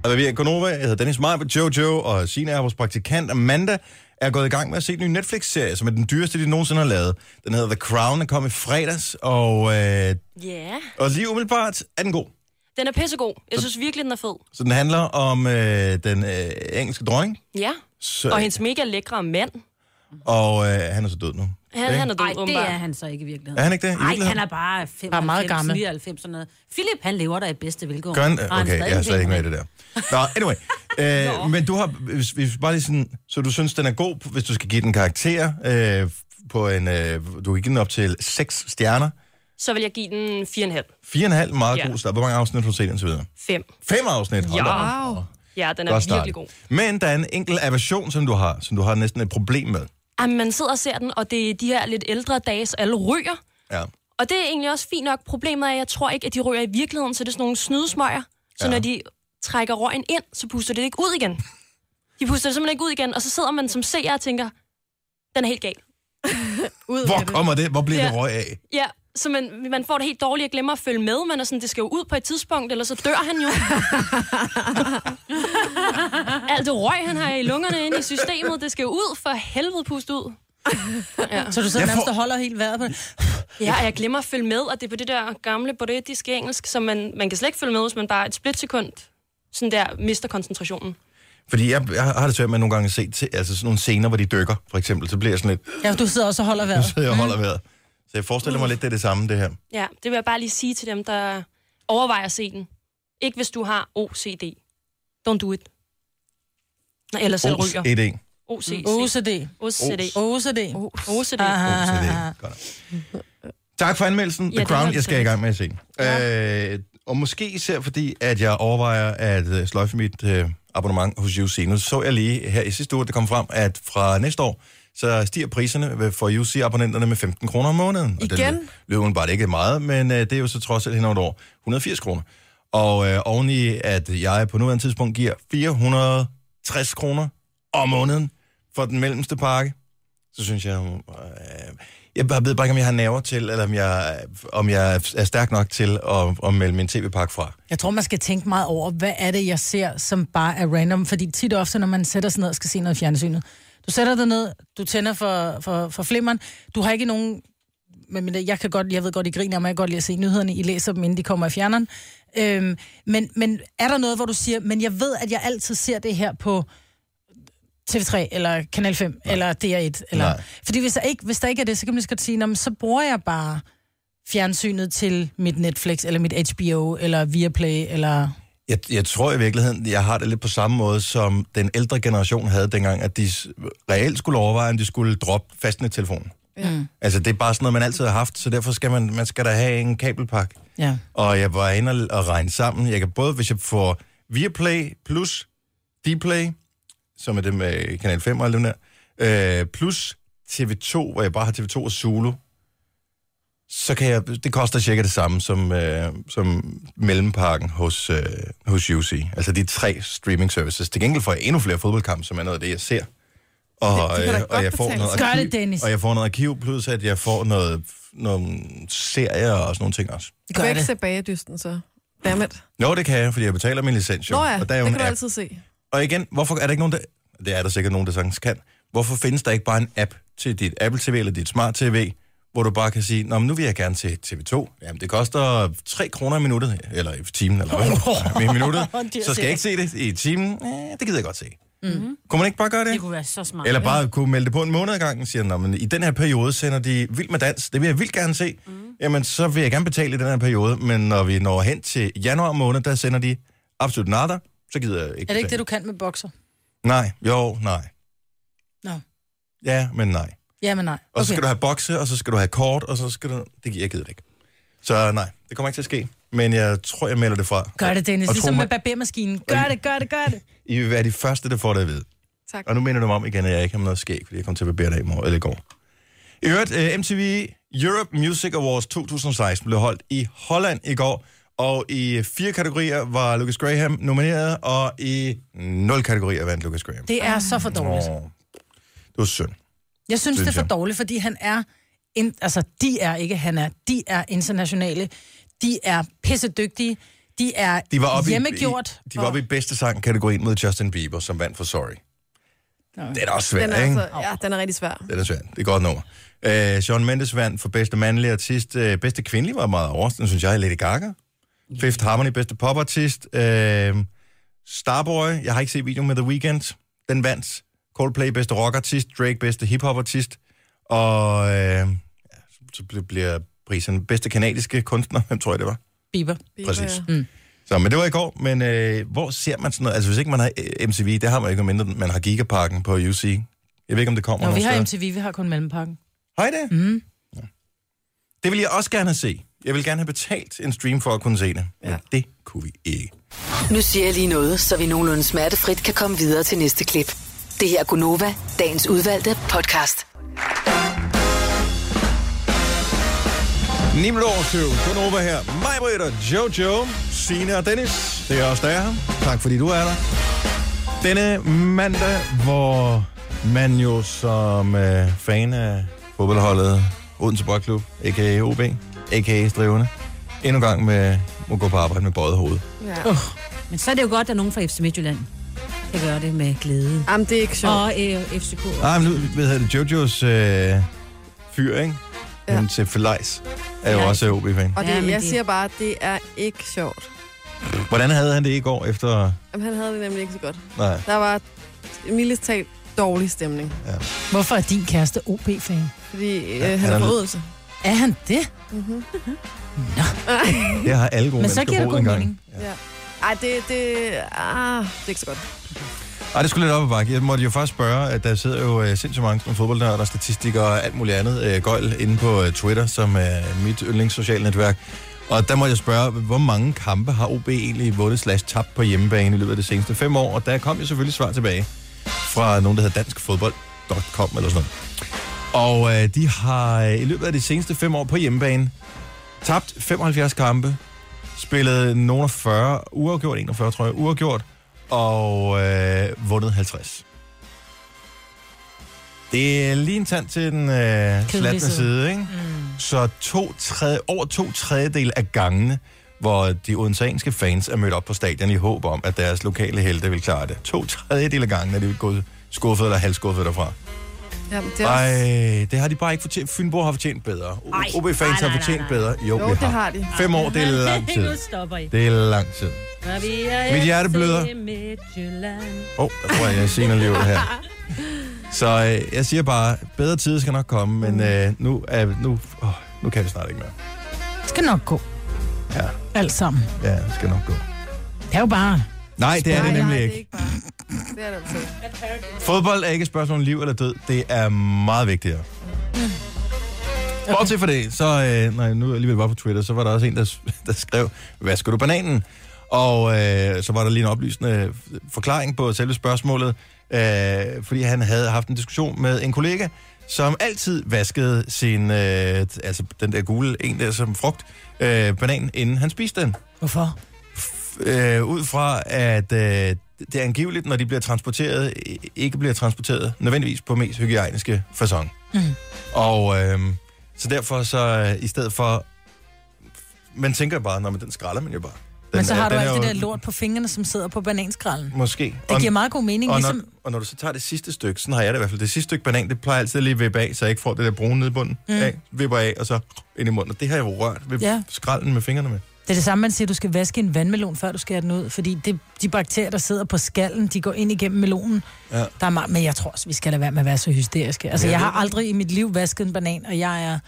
A: Og hvad vi er Gonova, jeg hedder Dennis Meier, Jojo og Sina er vores praktikant. Amanda er gået i gang med at se en ny Netflix-serie, som er den dyreste, de nogensinde har lavet. Den hedder The Crown, den kom i fredags, og, øh,
I: Ja,
A: og lige umiddelbart er den god.
I: den er pissegod. Jeg synes virkelig, den er fed.
A: Så den handler om øh, den øh, engelske dronning,
I: Ja,
A: så,
I: og hendes mega lækre mand.
A: og øh, han er så død nu.
I: Han,
A: Ikke?
I: han er død,
H: Nej, det
I: åbenbart.
H: er han så ikke i virkeligheden.
A: Er han ikke det? I
H: Nej,
A: virkeligheden?
H: han er bare 95,
B: Bare meget gammel.
H: 99, sådan noget. Philip, han lever der i bedste velgående.
A: Gør han?
H: Og er
A: Okay,
H: stadig
A: jeg er slet ikke med i
H: en
A: det der. Nå, anyway. Øh, men du har, hvis, hvis vi bare lige sådan, så du synes, den er god, hvis du skal give den karakter øh, på en, øh, du kan give den op til 6 stjerner.
I: Så vil jeg give den 4,5.
A: 4,5, meget
I: Ja.
A: god start. Hvor mange afsnit har du set indtil videre?
I: 5.
A: 5 afsnit? Hold da op.
I: Ja. ja, den er
A: Godt start.
I: virkelig god.
A: Men der er en enkelt aversion, som du har, som du har næsten et problem med.
I: Jamen, man sidder og ser den, og det er de her lidt ældre dages, alle ryger.
A: Ja.
I: Og det er egentlig også fint nok. Problemet er, at jeg tror ikke, at de ryger i virkeligheden, så det er sådan nogle snydesmøger.
A: Ja.
I: Så ja. når de trækker røgen ind, så puster det ikke ud igen. De puster det simpelthen ikke ud igen, og så sidder man som seer og tænker, den er helt gal.
E: Ud
A: Hvor
E: med det.
A: kommer det? Hvor bliver
I: Ja.
A: det røg af?
I: Ja, så man, man får det helt dårligt at glemme at følge med. Man er sådan, det skal jo ud på et tidspunkt, eller så dør han jo. Alt det røg, han har i lungerne inde i systemet, det skal jo ud for helvede pust ud.
B: Så du sidder
A: Jeg
B: nærmest
A: får-
B: og holder helt vejret på det.
I: Ja, og jeg glemmer at følge med, og det er på det der gamle britiske engelsk, så man, man kan slet ikke følge med, hvis man bare et splitsekund sådan der mister koncentrationen.
A: Fordi jeg, jeg har det svært med nogle gange at se til, altså sådan nogle scener, hvor de dykker, for eksempel. Så bliver jeg sådan lidt,
B: Ja, du sidder også og holder vejret.
A: så jeg holder vejret. Så jeg forestiller mig lidt, det er det samme, det her.
I: Ja, det vil jeg bare lige sige til dem, der overvejer at se den. Ikke hvis du har OCD. Don't do it. Nej, ellers selv ryger.
A: Et en.
I: OCD.
B: OCD.
I: OCD.
B: OCD.
I: OCD.
A: Så det er godt. Tak for anmeldelsen. The
I: Ja,
A: ja,
I: det var
A: Crown,
I: det
A: jeg skal
I: så.
A: i gang med at se. Ja. Øh, og måske især fordi, at jeg overvejer at øh, sløjfe mit øh, abonnement hos UC. Nu så jeg lige her i sidste uge, at det kom frem, at fra næste år, så stiger priserne ved- for UC-abonnenterne med 15 kroner om måneden. Og øh,
E: Igen?
A: Det løber bare ikke meget, men øh, det er jo så trods alt hen over et år. 180 kroner. Og øh, oveni, at jeg på nuværende tidspunkt giver 460 kroner om måneden for den mellemste pakke så synes jeg, øh, jeg bare ved bare ikke, om jeg har nerver til, eller om jeg, om jeg er stærk nok til at, at melde min tv-pakke fra.
B: Jeg tror, man skal tænke meget over, hvad er det, jeg ser, som bare er random. Fordi tit og ofte, når man sætter sig ned og skal se noget i fjernsynet, du sætter dig ned, du tænder for, for, for flimmeren, du har ikke nogen... Men men jeg, kan godt, jeg ved godt, I griner, men jeg kan godt lide at se nyhederne. I læser dem, inden de kommer i fjerneren. Øhm, men, men er der noget, hvor du siger, men jeg ved, at jeg altid ser det her på TV3, eller Kanal 5, Nej. eller DR1. Eller...
A: Nej.
B: Fordi hvis der, ikke, hvis der ikke er det, så kan man lige så godt sige, "Nå, men så bruger jeg bare fjernsynet til mit Netflix, eller mit HBO, eller Viaplay, eller...
A: Jeg, jeg tror i virkeligheden, jeg har det lidt på samme måde, som den ældre generation havde dengang, at de s- reelt skulle overveje, om de skulle droppe fastnettelefonen.
E: Ja.
A: Altså, det er bare sådan noget, man altid har haft, så derfor skal man, man skal da have en kabelpakke.
B: Ja.
A: Og jeg var inde og, og regne sammen. Jeg kan både, hvis jeg får Viaplay plus Dplay, som er det med Kanal 5 og alt det der, øh, plus TV2, hvor jeg bare har TV2 og Zulu, så kan jeg, det koster cirka det samme som, øh, som mellempakken hos, øh, hos UC. Altså de tre streaming services. Til gengæld får jeg endnu flere fodboldkampe, som er noget af det, jeg ser. Og,
E: Det- det kan da godt
A: øh,
E: betale sig.
B: Gør det,
A: arkiv-
B: Dennis.
A: Og jeg får noget arkiv, plus at jeg får noget, nogle serier og sådan nogle ting også.
E: Du
B: Gør
E: kan ikke
B: det.
E: se bagedysten, så. Dammit.
A: Jo, det kan jeg, fordi jeg betaler min licens. Jo.
E: Nå ja,
A: og der er jo
E: det
A: en
E: kan du
A: app.
E: altid se.
A: Og igen, hvorfor er der ikke nogen, der... Det er der sikkert nogen, der sagtens kan. Hvorfor findes der ikke bare en app til dit Apple TV eller dit Smart TV, hvor du bare kan sige, Nå, men nu vil jeg gerne til TV2. Jamen, det koster 3 kroner i minuttet, eller i timen, eller hvad? I minuttet. Så skal jeg ikke se det i timen. Eh, det gider jeg godt se. Mm-hmm. Kunne man ikke bare gøre det?
H: Det kunne være så smart.
A: Eller bare kunne melde det på en måned ad gangen, siger den, "Nå, men i den her periode sender de Vild med Dans, det vil jeg vildt gerne se. Mm. Jamen, så vil jeg gerne betale i den her periode, men når vi når hen til januar måned, der sender de absolut nada, så gider jeg ikke
B: Er det ikke det, du kan med bokser?
A: du... Nej, jo, nej.
B: Nå.
A: Ja, men nej.
B: Ja, men nej.
A: Og så skal du have bokse, og så skal du have kort, og så skal du... Det giver jeg gider det ikke. Så nej, det kommer ikke til at ske. Men jeg tror, jeg melder det fra.
B: Gør det, Dennis.
A: Og
B: Ligesom
A: tro
B: med
A: mig,
B: barbermaskinen. Gør det, gør det, gør det.
A: I vil være de første, der får det at vide.
E: Tak.
A: Og nu minder du mig om igen, at jeg ikke har noget skæg, fordi jeg kom til at barbere dig i, morgen, eller i går. I øvrigt, øh, MTV Europe Music Awards 2016 blev holdt i Holland i går, og i fire kategorier var Lucas Graham nomineret, og i nul kategorier vandt Lucas Graham.
B: Det er så for dårligt.
A: Åh, det var synd.
B: Jeg synes, det er
A: synes
B: for
A: jeg.
B: dårligt, fordi han er... In, altså, de er ikke, han er. De er internationale. De er pissedygtige. De er
A: De var oppe
B: hjemmegjort.
A: I, i, de var oppe i bedste sang-kategorien mod Justin Bieber, som vandt for Sorry. Det er da også svært,
E: Den er,
A: ikke?
E: altså, ja, den er rigtig svær.
A: Den er svær. Det er et godt nummer. Øh, Sean Mendes vandt for bedste mandlige artist. Øh, bedste kvindelige var meget overraskende, synes jeg. Lady Gaga. Fifth Harmony, bedste popartist. Øh, Starboy, jeg har ikke set videoen med The Weeknd. Den vandt. Coldplay, bedste rockartist. Drake, bedste hiphopartist. Og øh, ja, så bl- bliver prisen bedste kanadiske kunstner. Hvem tror jeg, det var?
B: Bieber.
A: Præcis.
H: Mm.
B: Mm.
A: Så, men det var i går, men øh, hvor ser man sådan noget? Altså, hvis ikke man har øh, MTV, det har man ikke, mindre man har Gigaparken på UC. Jeg ved ikke, om det kommer
B: Nå, vi
A: nogen
B: har
A: steder.
B: MTV, vi har kun Mellempakken.
A: Hej det. Mm. Det vil jeg også gerne have se. Jeg vil gerne have betalt en stream for at kunne se det. Ja. Men det kunne vi ikke.
G: Nu siger jeg lige noget, så vi nogenlunde smertefrit kan komme videre til næste klip. Det her er Gunova, dagens udvalgte podcast.
A: 9 over 7. Kun over her. Mig, Britt og Jojo, Sina og Dennis. Det er os, der er her. Tak fordi du er der. Denne mandag, hvor man jo som øh, fan af fodboldholdet Odense Boldklub, a.k.a. OB, a.k.a. Strivende, endnu en gang med, må gå på arbejde med bøjet hoved.
H: Men så er det jo godt, at nogen fra FC Midtjylland kan gøre det med glæde.
E: Jamen, det er ikke sjovt.
H: Og øh, FCK.
A: Nej, Ah, men nu ved jeg det, Jojos øh, fyr, ikke? Ja.
E: Ja.
A: Hun til Felajs er jo
H: Felajs.
A: også OB-fan.
E: Og det,
H: Ja, men
E: jeg
H: det-
E: siger bare, det er ikke sjovt.
A: Hvordan havde han det i går efter...
E: Jamen, han havde det nemlig ikke så godt.
A: Nej,
E: Der var mildest talt dårlig stemning,
B: Hvorfor er din kæreste OB-fan?
E: fordi øh,
A: Ja,
E: ja,
A: han
E: han
A: er
E: har
A: lidt-
E: forødelse.
B: Er han det?
A: det har alle gode
B: Men så
A: mennesker
B: giver det
A: boet
B: god
A: engang.
B: mening.
E: Ja. Ej, det, det, ah, det er ikke så godt.
A: Ej, det skulle lidt op ad bakke. Jeg måtte jo først spørge, at der sidder jo øh, sindssygt mange sådan fodboldnørder, statistikere og alt muligt andet øh, gøjl inde på øh, Twitter, som er mit yndlingssociale netværk. Og der måtte jeg spørge, hvor mange kampe har OB egentlig vundet slash tabt på hjemmebane i løbet af de seneste fem år? Og der kom jo selvfølgelig svar tilbage fra nogen, der hedder danskfodbold.com eller sådan noget. Og øh, de har øh, i løbet af de seneste fem år på hjemmebane tabt 75 kampe, spillet nogen af 40, uafgjort 41, tror jeg, uafgjort, og øh, vundet 50. Det er lige en tand til den øh, slatne
B: side.
A: side, ikke? Mm. Så to tredje, over to tredjedel af gangene, hvor de odenseanske fans er mødt op på stadion i håb om, at deres lokale helte vil klare det. To tredjedel af gangene er de gået skuffet eller halvskuffet derfra.
E: Jamen, det er også...
A: Nej, det har de bare ikke fortjent. Fynborg har fortjent bedre.
H: Ej, nej,
A: OB-fans har
H: nej, nej,
A: fortjent
H: nej.
A: bedre. Jo,
E: Jo,
A: vi
E: det
A: har.
E: har de.
A: Fem år, det er lang tid.
H: Nu stopper I.
A: Det er lang tid.
H: Når vi er
A: Mit hjerte
H: FC
A: bløder.
H: Midtjylland.
A: Åh, oh, der tror jeg, jeg senere lever her. Så øh, jeg siger bare, bedre tid skal nok komme, men øh, nu, er, nu, åh, nu kan vi snart ikke mere.
B: Det skal nok gå.
A: Ja.
B: Alt sammen.
A: Ja, det skal nok gå.
B: Det er jo bare...
A: Nej, det er det
E: Nej, nej,
A: nemlig
E: Det er
A: ikke.
E: ikke bare. Det er det altså. ikke.
A: Fodbold er ikke et spørgsmål om liv eller død. Det er meget vigtigere. Bortset for det, så øh, nej, nu alligevel var på Twitter, så var der også en, der, s- der skrev, hvad skal du bananen? Og øh, så var der lige en oplysende forklaring på selve spørgsmålet, øh, fordi han havde haft en diskussion med en kollega, som altid vaskede sin, øh, t- altså den der gule en der som frugt, øh, banan, inden han spiste den
B: Hvorfor?
A: øh, ud fra, at øh, det er angiveligt, når de bliver transporteret, i- ikke bliver transporteret nødvendigvis på mest hygiejniske façon. Mm. Og øh, så derfor så, øh, i stedet for, man tænker bare, når man den skralder man jo bare.
B: Men så
A: er-
B: har du
A: den
B: alt
A: er
B: det
A: jo-
B: der lort på fingrene, som sidder på bananskrallen.
A: Måske.
B: Det
A: Og-
B: giver meget god mening,
A: og,
B: ligesom...
A: når, og når du så tager det sidste stykke, sådan har jeg det i hvert fald, det sidste stykke banan, det plejer altid lige at vippe af, så jeg ikke får det der brune nede i bunden mm. af, vipper af, og så ind i munden. Og det har jeg jo rørt ved ja.
B: Ja.
A: skralden med fingrene med.
B: Det er det samme, man siger, at du skal vaske en vandmelon, før du skærer den ud. Fordi det, de bakterier, der sidder på skallen, de går ind igennem melonen.
A: Ja.
B: Der er meget, men jeg tror også, vi skal lade være med at være så hysteriske. Altså,
A: Ja,
B: ja,
A: det
B: jeg har
A: er det.
B: aldrig i mit liv vasket en banan, og jeg er...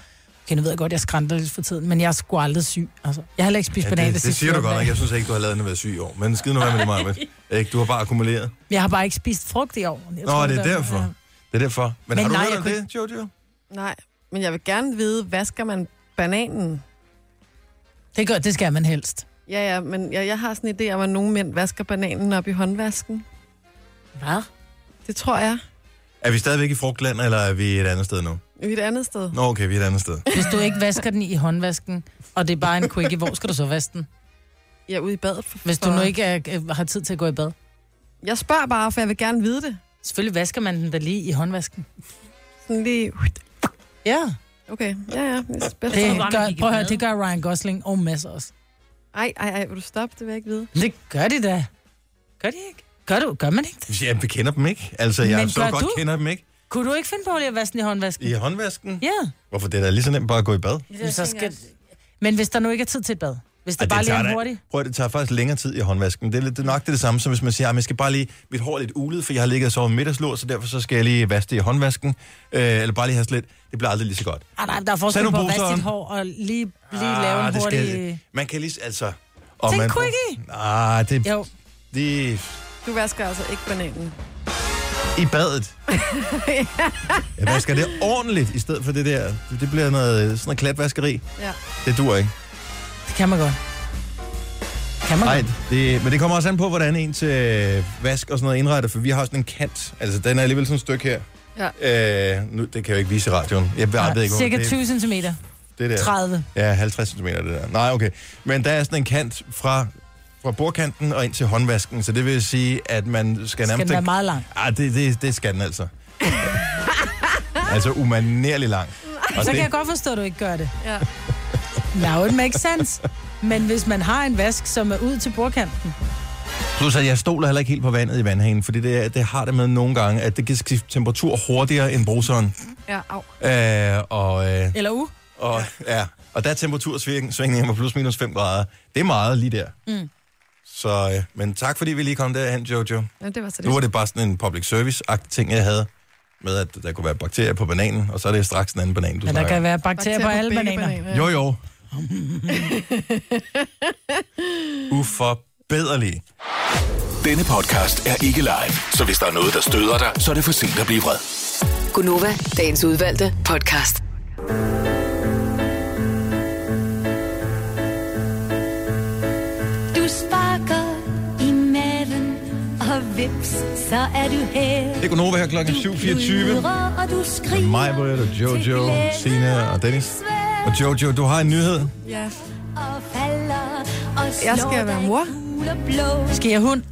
B: Okay, nu ved jeg godt, jeg skrænter lidt for tiden, men jeg er sgu aldrig syg. Altså, jeg har heller ikke spist ja, banan
A: det,
B: det
A: det
B: sidste
A: siger du
B: 14
A: godt nok.
B: dage.
A: Jeg synes ikke, du har lavet den at være syg i år. Men skid nu være med det, Marvind. Ikke, Du har bare akkumuleret.
B: Jeg har bare ikke spist frugt i år. Jeg
A: Nå,
B: tror,
A: det er
B: der-
A: derfor.
B: Ja.
A: Det er derfor. Men,
B: Men
A: har du
B: nej,
A: hørt
B: jeg
A: om
B: kunne-
A: det, Jojo?
C: Nej, men jeg vil gerne vide, vasker man bananen?
B: Det, gør, det skal man helst.
C: Ja, ja, men jeg, jeg har sådan en idé om, at nogle mænd vasker bananen op i håndvasken.
H: Hvad?
C: Det tror jeg.
A: Er vi stadigvæk i frugtland, eller er vi et andet sted nu?
C: Vi er et andet sted.
A: Nå, okay, vi er et andet sted.
B: Hvis du ikke vasker den i håndvasken, og det er bare en quickie, hvor skal du så vaske den?
C: Jeg er ude i badet. For,
B: Hvis du
C: for-
B: nu ikke er, er- har tid til at gå i bad.
C: Jeg spørger bare, for jeg vil gerne vide det.
B: Selvfølgelig vasker man den da lige i håndvasken.
C: Sådan lige...
B: Ja.
C: Okay, ja, ja. Det er bedst.
H: tror
B: Det
H: bare, man
B: gør,
H: gik i
B: prøv at høre,
H: bad.
B: det gør Ryan Gosling og masser også.
C: Ej, ej, ej, vil du stoppe? Det vil jeg ikke vide.
B: Det gør de da. Gør de ikke? Gør, du, gør man ikke det?
A: Ja, vi kender dem ikke. Altså, jeg
B: Men
A: så
B: gør
A: godt
B: du?
A: kender dem ikke.
B: Kunne du ikke finde på lige at vaske den i håndvasken?
A: I håndvasken?
B: Ja.
A: Hvorfor? Det er da lige så nemt bare at gå i bad.
B: Men, så skal... Men hvis der nu ikke er tid til et bad? Hvis det
A: Ej,
B: bare lige
A: tager
B: er
A: da-
B: en hurtig?
A: Prøv at det tager faktisk længere tid i håndvasken. Det er, lidt- det er nok det, er det samme, som hvis man siger, at jeg skal bare lige, mit hår er lidt ulet, for jeg har ligget og sovet middagslur, så derfor så skal jeg lige vaske det i håndvasken. Øh, eller bare lige have slet. Det bliver aldrig lige så godt.
B: Ah, nej, der er
A: Tag
B: forskel
A: nu
B: på at vaske
A: bukserne.
B: dit hår og lige, lige ah, lave en
A: det
B: hurtig...
A: Skal, man kan lige, s- altså... Og
B: Tænk quickie.
A: Ah, det,
B: Jo,
A: det,
C: Du vasker altså ikke bananen.
A: I badet. Jeg vasker det ordentligt, i stedet for det der. Det bliver noget, sådan noget klatvaskeri.
C: Ja.
A: Det dur ikke.
B: det kan man godt. Kan man
A: Nej,
B: godt.
A: det, men det kommer også an på, hvordan en til øh, vask og sådan noget indretter, for vi har sådan en kant. Altså, den er alligevel sådan et stykke her. Ja. Øh, nu, det kan jeg jo ikke vise i radioen. Jeg, ved- jeg ved ikke, hvor-
B: cirka
A: det,
B: 20 cm.
A: det der.
B: 30.
A: Ja, 50 cm det der. Nej, okay. Men der er sådan en kant fra, fra bordkanten og ind til håndvasken, så det vil sige, at man skal
B: Skal
A: nærmest...
B: den være meget lang?
A: Ah, det, det, det skal den altså. altså umanerlig lang. Og det,
B: Så kan jeg godt forstå, at du ikke gør det.
C: Ja.
B: Now it makes sense. Men hvis man har en vask, som er ud til bordkanten,
A: Plus at jeg stoler heller ikke helt på vandet i vandhanen, fordi det, er- det har det med nogle gange, at det kan skifte temperatur hurtigere end bruseren.
C: Ja, au.
A: Øh, og, øh,
B: eller u,
A: og, ja. og der er temperatursvingninger på plus minus 5 grader. Det er meget lige der. Mm. Så, øh, men tak fordi vi lige kom derhen, Jojo.
C: Jamen, det var så det.
A: Nu var det bare sådan en public service-agtig ting, jeg havde med, at der kunne være bakterier på bananen, og så er det straks en anden banan, du
B: men der
A: snakker.
B: kan
A: om.
B: være bakterier på alle
C: begge
B: bananer.
A: Jo, jo. Uforbederlige.
F: Denne podcast er ikke live, så hvis der er noget, der støder dig, så er det for sent at blive vred.
G: Gunova, dagens udvalgte podcast.
D: Du sparker i maven, og vips, så er du her.
A: Det er Gunova her klokken 7.24.
D: Pludrer, og du skriger
A: Mig, Britt, og
D: til
A: Jojo,
D: glæde
A: Sina og Dennis. Og Jojo, du har en nyhed.
C: Ja.
D: og falder, og
C: Jeg
D: slår
C: skal være
D: dig
C: mor.
D: gul og blå.
B: Skal jeg hund?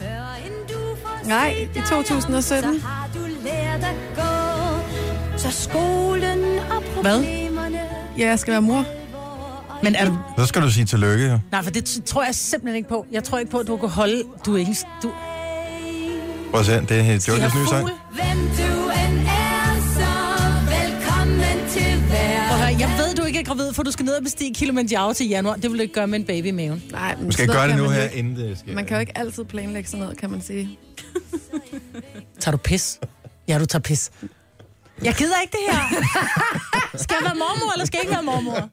D: Før end du får
C: Nej,
D: set
C: i
D: dig
C: 2017.
D: om, Så har du lært at gå. Så skolen og
B: Hvad?
D: problemerne.
C: Ja, jeg skal være mor.
B: Men er du...
A: Så skal du sige tillykke. jo.
B: Nej, for det t- tror jeg simpelthen ikke på. Jeg tror ikke på, at du kan holde... Du er ikke... Du...
A: Prøv at se, det er Jojos nye sang.
D: Hvem du end er, så velkommen til verden.
B: Prøv at høre, jeg ved, du ikke er gravid, for du skal ned og bestige Kilimanjaro til januar. Det vil du ikke gøre med en baby i maven.
C: Nej, men
A: Du skal
C: sådan
A: gøre det
C: noget kan
A: nu
C: man
A: her,
C: jo ikke-
A: inden det sker.
C: Man kan jo ikke altid planlægge sådan noget, kan man sige.
B: Tager du pis? Ja, du tager pis. Jeg gider ikke det her. Skal jeg være mormor, eller skal jeg ikke være mormor?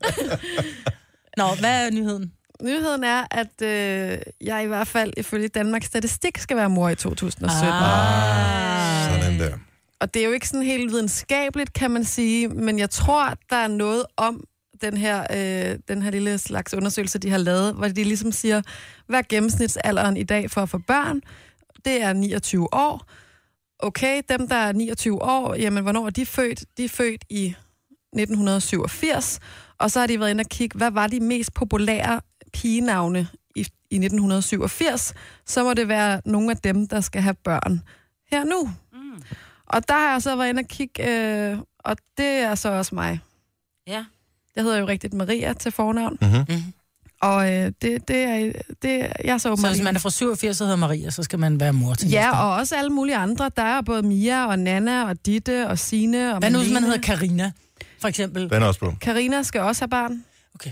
B: Nå, hvad er nyheden?
C: Nyheden er, at øh, jeg i hvert fald ifølge Danmarks Statistik skal være mor i 2017. Ah.
A: Sådan der.
C: Og det er jo ikke sådan helt videnskabeligt, kan man sige, men jeg tror, der er noget om den her, øh, den her lille slags undersøgelse, de har lavet, hvor de ligesom siger, hvad er gennemsnitsalderen i dag for at få børn? Det er 29 år. Okay, dem, der er 29 år, jamen, hvornår er de født? De er født i 1987, og så har de været inde og kigge, hvad var de mest populære pigenavne i, i 1987? Så må det være nogle af dem, der skal have børn her nu. Og der har jeg så været inde og kigge, øh, og det er så også mig.
H: Ja.
C: Jeg hedder jo rigtigt Maria til fornavn.
A: Mhm.
C: Mm-hmm. Og øh, det, det, er, det, jeg så
B: Så
C: mig
B: hvis man er fra 87, så hedder Maria, så skal man være mor til næste
C: Ja,
B: år.
C: og også alle mulige andre. Der er både Mia og Nana og Ditte og Sine og
B: Hvad nu, hvis man
C: Malene.
B: hedder Karina for eksempel?
A: Den er også på.
C: Karina skal også have barn.
B: Okay.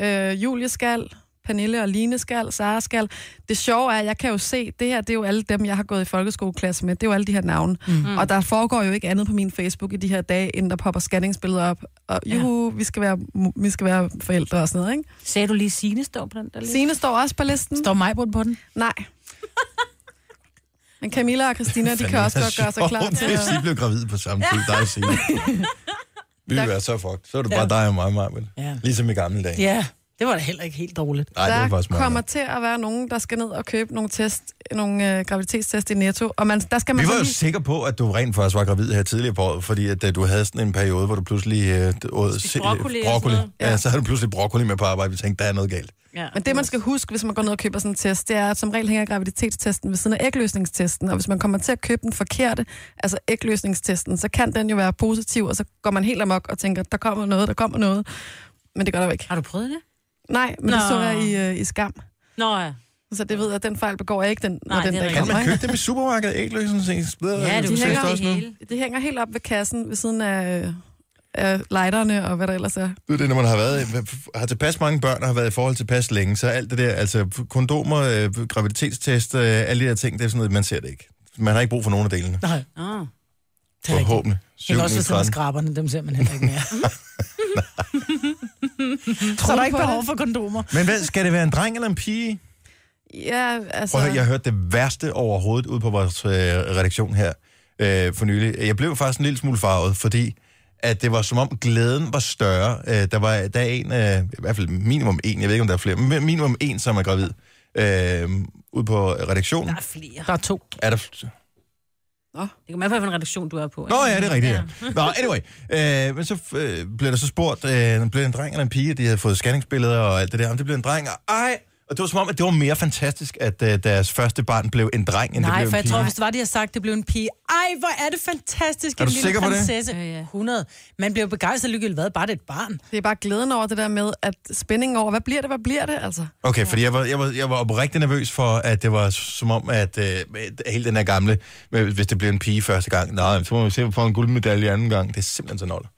C: Øh, Julie skal, Pernille og Line skal, Sara skal. Det sjove er, at jeg kan jo se, det her, det er jo alle dem, jeg har gået i folkeskoleklasse med. Det er jo alle de her navne. Mm. Og der foregår jo ikke andet på min Facebook i de her dage, end der popper scanningsbilleder op. Og juhu, ja. vi, skal være, mu- vi skal være forældre og sådan noget, ikke?
H: Sagde du lige, Signe står på den der liste?
C: Sine står også på listen.
B: Står mig på den?
C: Nej. Men Camilla og Christina, de kan også godt gøre sig klar til
A: Hvis
C: at...
A: de blev gravide på samme tid, dig og Signe. Vi ville være så fucked. Så er det bare dig og mig, Marvind.
B: Ja.
A: Ligesom i gamle dage.
B: Ja, det var da heller ikke helt dårligt.
A: Nej, det var
C: der
A: faktisk meget.
C: kommer til at være nogen, der skal ned og købe nogle test, nogle øh, graviditetstest i Netto, og man, der skal man
A: Vi var
C: så
A: jo
C: lige...
A: sikre på, at du rent faktisk var gravid her tidligere på året, fordi at, øh, du havde sådan en periode, hvor du pludselig øh, d- åd se-
I: broccoli og
A: broccoli.
I: sådan noget.
A: Ja. så havde du pludselig broccoli med på arbejde. Vi tænkte, der er noget galt.
H: Ja.
C: Men det, man skal huske, hvis man går ned og køber sådan en test, det er, at som regel hænger graviditetstesten ved siden af ægløsningstesten, og hvis man kommer til at købe den forkerte, altså ægløsningstesten, så kan den jo være positiv, og så går man helt amok og tænker, der kommer noget, der kommer noget. Men det gør der jo ikke.
H: Har du prøvet det?
C: Nej, men Nå. det
H: Nå.
C: så jeg i, øh, i skam.
H: Nå ja.
C: Så det ved jeg, at den fejl begår jeg ikke, den, når
H: Nej,
C: den
H: det er
C: der
H: rigtigt.
A: Kan
C: kommer.
A: man
C: ikke?
A: købe dem i supermarkedet? Ægløsens
H: Ja, du
A: de
H: kan
A: hænger
H: gøre det
A: også nu.
H: hele.
C: Det hænger helt op ved kassen ved siden af, øh, af lighterne og hvad der ellers er.
A: Det er det, når man har, været, har tilpas mange børn og har været i forhold tilpas længe, så alt det der, altså kondomer, øh, graviditetstest, øh, alle de der ting, det er sådan noget, man ser det ikke. Man har ikke brug for nogen af delene.
B: Nej,
H: Nå.
B: det er rigtigt.
A: Forhåbentlig.
B: Det er
A: Syvende
B: også
A: i
B: ved siden af
A: tretten.
B: skraberne, dem ser man heller ikke mere. Så er der ikke behov for kondomer.
A: Men hvad, skal det være en dreng eller en pige?
C: Ja, altså...
A: Prøv at høre, jeg hørte det værste overhovedet ud på vores øh, redaktion her øh, for nylig. Jeg blev faktisk en lille smule farvet, fordi at det var som om glæden var større. Øh, der var der er en, øh, i hvert fald minimum en, jeg ved ikke om der er flere, men minimum en, som er gravid. Øh, ude på redaktionen.
H: Der er flere.
B: Der er to.
A: Er der
H: Det kan man for, hvilken redaktion du er på.
A: Nå ja, det er rigtigt, ja. Nå, anyway. Øh, men så øh, blev der så spurgt, øh, blev det en dreng eller en pige, de havde fået scanningsbilleder og alt det der, om det blev en dreng, og ej! Og det var som om, at det var mere fantastisk, at øh, deres første barn blev en dreng, end det
B: Nej,
A: blev en
B: for jeg
A: pige.
B: tror, hvis det var det, jeg sagt, det blev en pige. Ej, hvor er det fantastisk,
A: Er
B: en
A: du
B: lille
A: sikker på det?
B: prinsesse.
H: Ja, ja.
B: 100. Man bliver jo begejstret ligegyldigt, hvad? Bare det er et barn.
C: Det er bare glæden over det der med, at spændingen over, hvad bliver det, hvad bliver det, altså?
A: Okay, fordi jeg var, jeg, var, jeg var oprigtig nervøs for, at det var som om, at øh, hele den her gamle, med- hvis det blev en pige første gang, nej, så må vi se, om vi får en guldmedalje anden gang. Det er simpelthen så noller.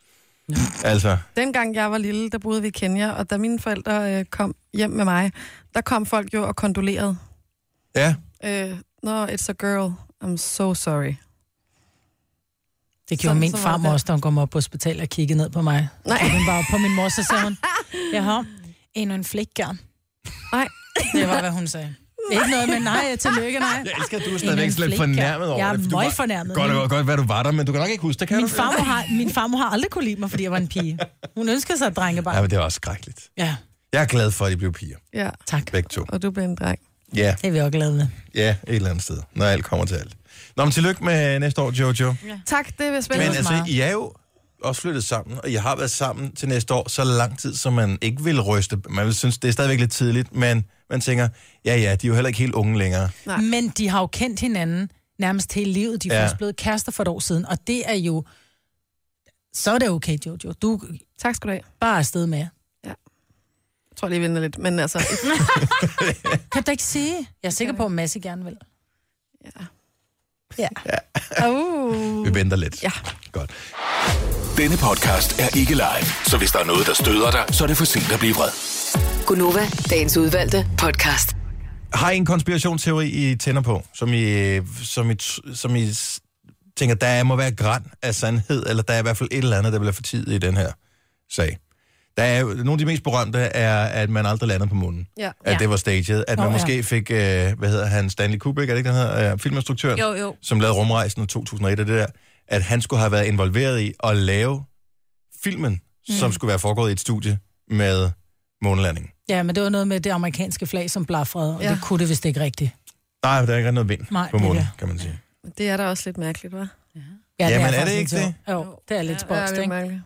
A: Altså,
C: Dengang jeg var lille, der boede vi i Kenya, og da mine forældre øh, kom hjem med mig, der kom folk jo og kondolerede.
A: ja.
C: Øh, Nå, it's a girl. I'm so sorry.
B: Det gjorde
C: Sådan,
B: min
C: så var
B: farmor
C: det.
B: også, da hun kom op på hospitalet og kiggede ned på mig.
C: Nej.
B: Så hun bare på min mor, så sagde hun, jeg har endnu en flækgarn.
C: Nej.
B: Det var, hvad hun sagde. Ikke noget med nej, tillykke, nej.
A: Jeg elsker, at du er
B: Endnu en
A: stadigvæk sådan lidt
B: flække.
A: fornærmet over
B: Jeg er
A: det. for du
B: møg
A: var-
B: fornærmet.
A: Godt, godt, godt, hvad du var der, men du kan nok ikke huske det, kan
B: Min
A: du?
B: farmor, har, min farmor har aldrig kunne lide mig, fordi jeg var en pige. Hun ønskede sig et
A: Ja,
B: drengebarn.
A: men det var også skrækkeligt.
B: Ja,
A: Jeg er glad for, at de blev piger.
C: Ja,
B: tak.
A: Begge to.
C: og du blev en dreng.
A: Ja,
B: Det er vi også glade ved.
A: ja, et eller andet sted. Når alt kommer til alt. Nå, men tillykke med næste år, Jojo.
C: Tak, det vil
A: Men
C: spændende.
B: også
A: altså,
B: meget.
A: I er jo også flyttet sammen, og jeg har været sammen til næste år så lang tid, som man ikke vil ryste. Man vil synes, det er stadigvæk lidt tidligt, men man tænker, ja ja, de er jo heller ikke helt unge længere.
C: Nej.
B: Men de har jo kendt hinanden nærmest hele livet. De er
A: Ja.
B: ja. først blevet kærester for et år siden, og det er jo... Så er det okay, Jojo. Du er
C: Tak skal du have.
B: bare afsted med.
C: Jeg tror lige, vi venter lidt. Men altså,
B: Kan du da ikke sige? Jeg er sikker på, at Masse gerne vil.
C: uh.
A: Vi venter lidt.
C: Ja.
A: Godt.
F: Denne podcast er ikke live, så hvis der er noget, der støder dig, så er det for sent at blive vred.
G: Gunova, dagens udvalgte podcast.
A: Har I en konspirationsteori, I tænder på, som I, øh, som I, t- som I s- tænker, der må være græn af sandhed, eller der er i hvert fald et eller andet, der bliver for tid i den her sag? Der er jo, nogle af de mest berømte er, at man aldrig lander på munden.
C: Ja.
A: At
H: Ja.
A: det var staged. At man
B: Nå, ja.
A: måske fik, øh, hvad hedder han, Stanley Kubrick, er det ikke, den hedder, øh, filminstruktøren,
H: Jo, jo.
A: som lavede rumrejsen i 2001 og det der, at han skulle have været involveret i at lave filmen, mm. som skulle være foregået i et studie med månelandingen.
B: Ja, men det var noget med det amerikanske flag, som blafrede, og
C: Ja.
B: ja. det kunne det vist ikke rigtigt.
A: Nej, der er ikke rigtig noget vind
B: Nej,
A: på
B: det er
A: månen,
B: det.
A: kan man sige.
C: Det er da også lidt mærkeligt, hva'?
A: Jamen, er det
B: faktisk
A: ikke
B: lidt
A: det?
B: sjovt. Jo, det er lidt
C: Ja,
B: spøjst,
C: det er
B: ikke?
C: mærkeligt.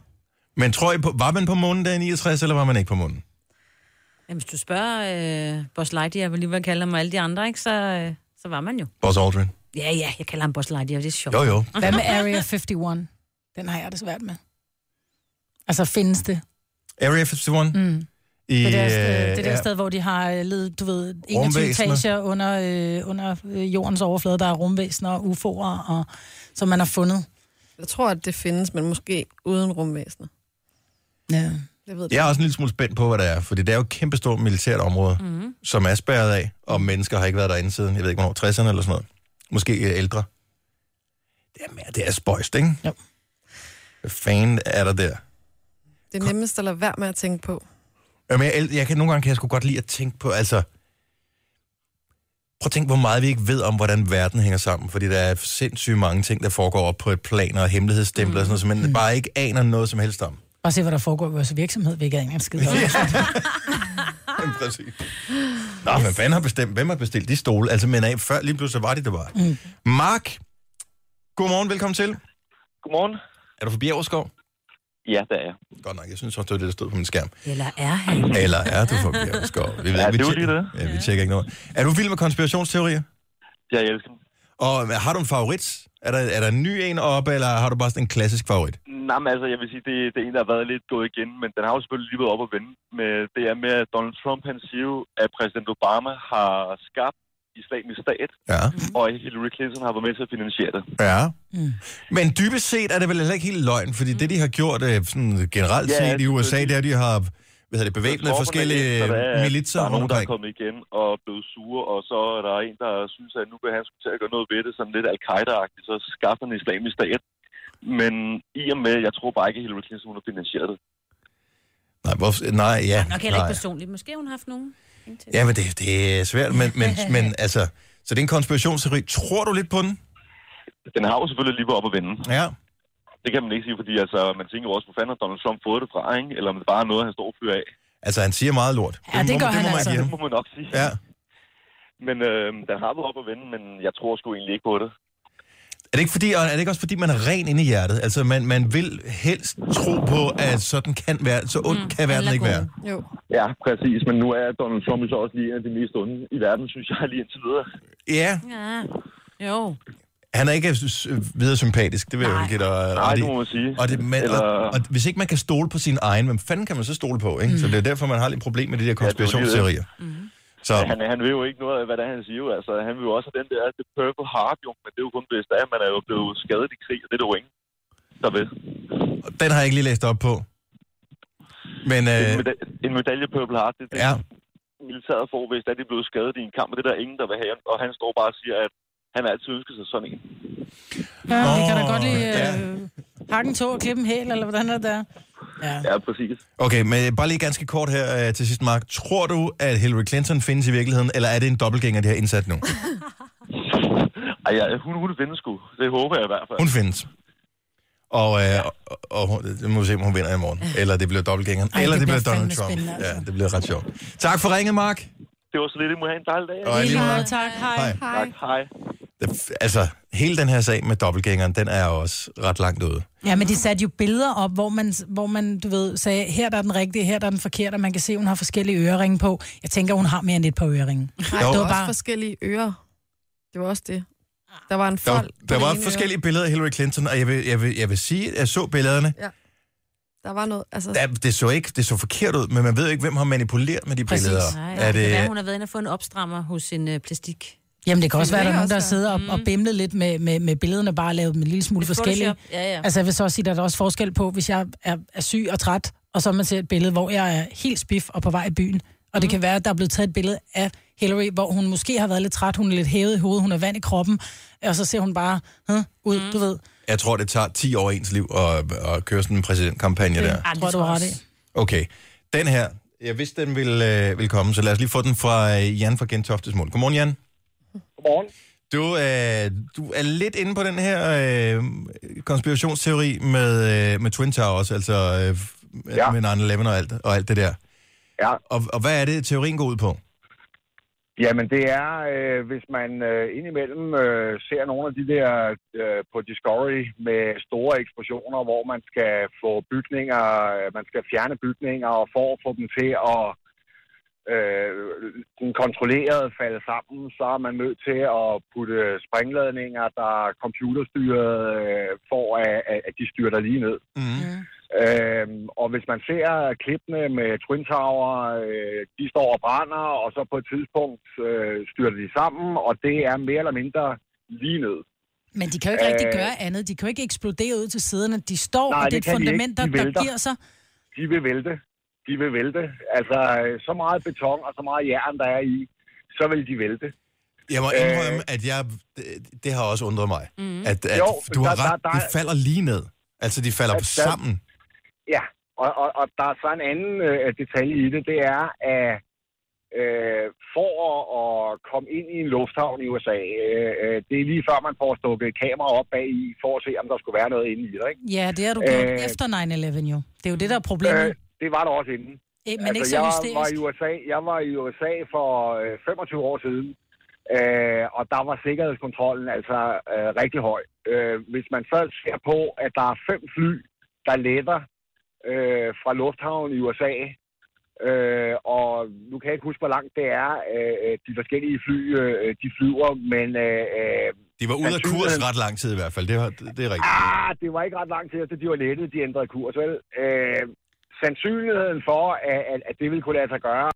A: Men tror I, på, var man på månen der i 69, eller var man ikke på månen?
H: Jamen, hvis du spørger øh, Boss Lightyear, vil lige hvad kalder ham, og alle de andre, ikke, så, øh, så var man jo.
A: Buzz Aldrin.
H: Ja, ja, jeg kalder ham Boss Lightyear, det er sjovt.
A: Jo, jo.
B: Hvad med Area 51? Den har jeg det svært med. Altså, findes det?
A: Area 51? Mm. I,
B: Det der, sted,
A: øh,
B: det der
A: ja.
B: sted, hvor de har øh, led, du ved, 21
A: Rumvæsener.
B: etager under, øh, under øh, jordens overflade, der er rumvæsener og UFO'er, og, som man har fundet.
C: Jeg tror, at det findes, men måske uden rumvæsener.
B: Ja.
C: Jeg ved det.
A: Jeg er også en lille smule spændt på, hvad det er, for det er jo et kæmpestort militært område,
B: Mhm.
A: mm. som er spærret af, og mennesker har ikke været derinde siden, jeg ved ikke, hvornår, 60'erne eller sådan noget. Måske øh, ældre. Det er, mere, det er spøjst, ikke?
B: Jo.
A: Hvad fanden er der der?
C: Det er nemmest at lade være med at tænke på.
A: Jamen, jeg, el- jeg kan, nogle gange kan jeg sgu godt lide at tænke på, altså... Prøv at tænke, hvor meget vi ikke ved om, hvordan verden hænger sammen, fordi der er sindssygt mange ting, der foregår op på et plan, og hemmelighedsstempler mm. og sådan noget, som man bare ikke aner noget som helst om.
B: Bare se, hvad der foregår i vores virksomhed, vi ikke er engang skide om.
A: Jamen, Præcis. Nå, men hvem har bestemt, hvem har bestilt de stole? Altså, men af, før lige pludselig var de det bare. Mm. Mark, godmorgen, velkommen til.
J: Godmorgen.
A: Er du forbi Bjergskov?
J: Ja, der er jeg.
A: Godt nok, jeg synes også, det var det, der stod på min skærm.
H: Eller er han?
A: Mm. Eller er du forbi Bjergskov? Vi,
J: Ja, det er jo
A: tjekker-
J: lige
A: Ja, vi tjekker ikke noget. Er du vild med konspirationsteorier?
J: Ja, jeg elsker den.
A: Og har du en favorit? Er der, er der en ny en oppe, eller har du bare sådan en klassisk favorit?
J: Nej, men altså, jeg vil sige, det, det er en, der har været lidt gået igen, men den har jo selvfølgelig lige været op at vende. Med, det er med, at Donald Trump, han siger jo, at præsident Obama har skabt islamisk stat,
A: Ja.
J: og at Hillary Clinton har været med til at finansiere det.
A: Ja. Mm. Men dybest set er det vel heller ikke helt løgn, fordi mm. det, de har gjort øh, sådan generelt
J: Ja,
A: set i USA, det
J: selvfølgelig.
A: er, at de har hvad hedder det, bevæbnet
J: Tropperne
A: forskellige
J: efter, altså, der er-
A: militser
J: Der er
A: rundt
J: nogen, der
A: omkring.
J: er kommet igen og blevet sure, og så er der en, der synes, at nu vil han skulle til at gøre noget ved det, sådan lidt al-Qaida-agtigt, så skaffer han islamisk stat. Men i og med, jeg tror bare ikke, at Hillary Clinton hun har finansieret det.
A: Nej, hvorfor, nej, ja.
H: Nok heller ikke
A: Nej.
H: personligt. Måske hun har haft nogen. Ingen til.
A: Ja, men det, det er svært, men, men, men altså, så det er en konspirationsteori. Tror du lidt på den?
J: Den har jo selvfølgelig lige været op at vende.
A: Ja.
J: Det kan man ikke sige, fordi altså, man tænker jo også, hvor fanden har Donald Trump fået det fra, ikke? Eller om det bare er noget, han står og fyrer af.
A: Altså, han siger meget lort.
B: Ja, det
A: må-
B: gør
A: det
B: han
A: må man
B: altså.
A: give
J: Det
A: ham.
J: må man nok sige.
A: Ja.
J: Men øh, den har været op at vende, men jeg tror sgu egentlig ikke på det.
A: Er det, ikke fordi, og er det ikke også fordi, man er ren inde i hjertet? Altså, man, man vil helst tro på, at sådan kan være, så ondt mm, kan verden
H: Eller
A: ikke
H: god.
A: være.
C: Jo.
J: Ja, præcis. Men nu er Donald Trump så også lige en af de mest onde i verden, synes jeg lige indtil videre.
A: Ja,
H: Ja. Jo.
A: han er ikke s- videre sympatisk, det vil jeg jo
H: Nej.
A: give dig
J: Nej,
A: ret i.
J: det må man sige.
A: Og, det, man, Eller...
J: Eller-
A: og, og hvis ikke man kan stole på sin egen, hvem fanden kan man så stole på? Ikke? Mm. Så det er derfor, man har lidt problem med de der konspirationsteorier. Mm. Så
J: Ja, Han, han ved jo ikke noget af, hvad det er, han siger. jo. Altså, han vil jo også have den der The Purple Heart, jo. Men det er jo kun hvis det er, at man er jo blevet skadet i krig, og det er der jo ingen, der ved.
A: den har jeg ikke lige læst op på. Men
J: Øh... En,
A: øh,
J: meda- en medalje Purple Heart, det er det,
A: ja,
J: militæret får, hvis det er, de er blevet skadet i en kamp, og det er der ingen, der vil have. Og han står bare og siger, at han har altid ønsket sig sådan en.
B: Ja, vi kan da
A: Nå,
B: godt
A: ja.
B: lige øh, hakke en tog og klippe en hæl, eller hvordan er det der? Ja.
J: Ja, præcis.
A: okay, men bare lige ganske kort her øh, til sidst, Mark. Tror du, at Hillary Clinton findes i virkeligheden, eller er det en dobbeltgænger, de har indsat nu?
J: Ej, ja, hun, hun findes sgu. Det håber jeg i hvert fald.
A: Hun findes. Og, øh, og, og hun- det må vi se, om hun vinder i morgen. Eller det bliver dobbeltgængeren.
B: Ej,
A: Eller
B: det
A: det bliver
B: bliver
A: Donald
B: fandme
A: Trump.
B: spændende, altså.
A: Ja, det bliver ret sjovt. Tak for ringet, Mark.
J: Det var så lidt, I må have en dejlig dag.
A: Og lige meget.
B: tak.
A: Hej.
J: Tak, hej.
A: Det- Altså, hele den her sag med dobbeltgængeren, den er jo også ret langt ude.
B: Ja, men de satte jo billeder op, hvor man, hvor man du ved, sagde, her der er den rigtige, her der er den forkerte, og man kan se, at hun har forskellige øreringe på. Jeg tænker, hun har mere end et par øreringe.
C: Nej,
A: Der var
C: der var
B: bare-
C: også forskellige ører. Det var også det. Der var
A: Der,
C: en fold
A: var,
C: på
A: der
C: det
A: var
C: ene øre.
A: forskellige billeder af Hillary Clinton, og jeg vil, jeg vil, jeg vil sige, at jeg så billederne.
C: Der var noget, altså...
A: Der, det, så ikke, det så forkert ud, men man ved jo ikke, hvem har manipuleret med de
B: Præcis.
A: billeder.
H: Nej,
A: er
H: det kan være,
A: det,
H: hun har været inde og fået en opstrammer hos en øh, plastik.
B: Jamen, det kan også
C: Det
B: være, at der er
C: kan
B: nogen, der
C: også
B: sidder og, og bimlet lidt med, med, med billederne, bare lavet dem en lille smule forskellige.
H: Photoshop. Ja, ja.
B: Altså, jeg vil så også sige, at der er også forskel på, hvis jeg er, er syg og træt, og så man ser et billede, hvor jeg er helt spiff og på vej i byen. Og det kan være, at der er blevet taget et billede af Hillary, hvor hun måske har været lidt træt, hun er lidt hævet i hovedet, hun har vand i kroppen, og så ser hun bare huh, ud, du ved.
A: jeg tror, det tager 10 år af ens liv at, at køre sådan en præsidentkampagne der.
H: Ej, det
B: Tror du
H: jeg
B: har det?
H: også.
A: Okay, den her, jeg vidste, den ville, øh, ville komme, så lad os lige få den fra øh, Jan fra Gentoftesmål. Godmorgen, Jan.
J: Godmorgen.
A: Du, øh, du er lidt inde på den her øh, konspirationsteori med, øh, med Twin Towers, altså øh, ja.
J: Ja.
A: med 9-11 og alt, og alt det der.
J: Ja,
A: Og, og hvad er det, teorien går ud på?
J: Jamen det er, øh, hvis man øh, indimellem øh, ser nogle af de der øh, på Discovery med store eksplosioner, hvor man skal få bygninger, øh, man skal fjerne bygninger og for at få dem til at
K: øh, sådan kontrolleret falde sammen, så er man nødt til at putte springladninger, der er computerstyret, øh, for at, at- at de styrter lige ned.
A: Mm.
K: Øhm, og hvis man ser klippene med Twin Tower, øh, de står og brænder, og så på et tidspunkt øh, styrter de sammen, og det er mere eller mindre lige ned.
B: Men de kan jo ikke rigtig
K: Øh.
B: gøre andet. De kan jo ikke eksplodere ud til siderne. De står,
K: Nej,
B: og det
K: det
B: er et
K: kan de ikke.
B: fundament, der,
K: De
B: der
K: vælter.
B: giver sig.
K: de vil vælte. De vil vælte. Altså, øh, så meget beton og så meget jern, der er i, så vil de vælte.
A: Jeg må
K: Øh.
A: indrømme, at jeg, det, det har også undret mig. Mm. At, at jo, du har ret, der, der, de falder lige ned. Altså, de falder
K: Der-
A: der,
K: der-
A: sammen.
K: Ja, og, og, og der er så en anden øh, detalje i det, det er, at øh, for at, at komme ind i en lufthavn i USA, øh, øh, det er lige før, man får stukket et kamera op bag i, for at se, om der skulle være noget inde i det, ikke?
B: Ja, det har du gjort
K: Øh.
B: øh, efter 9-11 jo. Det er jo det, der er problemet. Øh,
K: det var der også inden.
B: men ikke så
K: Altså, jeg
B: hysterisk.
K: var i USA, jeg var i USA for øh, 25 år siden, øh, og der var sikkerhedskontrollen altså øh, rigtig høj. Øh, hvis man så ser på, at der er fem fly, der letter øh, fra lufthavnen i USA, øh, og nu kan jeg ikke huske, hvor langt det er, øh, øh, de forskellige fly, øh, de flyver, men... Øh, øh,
A: De var ude af kurs
K: sandsynligheden-
A: ret lang tid i hvert fald. Det, var, det, det er rigtigt.
K: Ah, det var ikke ret lang tid efter, de var lettet, de ændrede kurs, vel? Øh, sandsynligheden for, at, at, at det ville kunne lade sig gøre,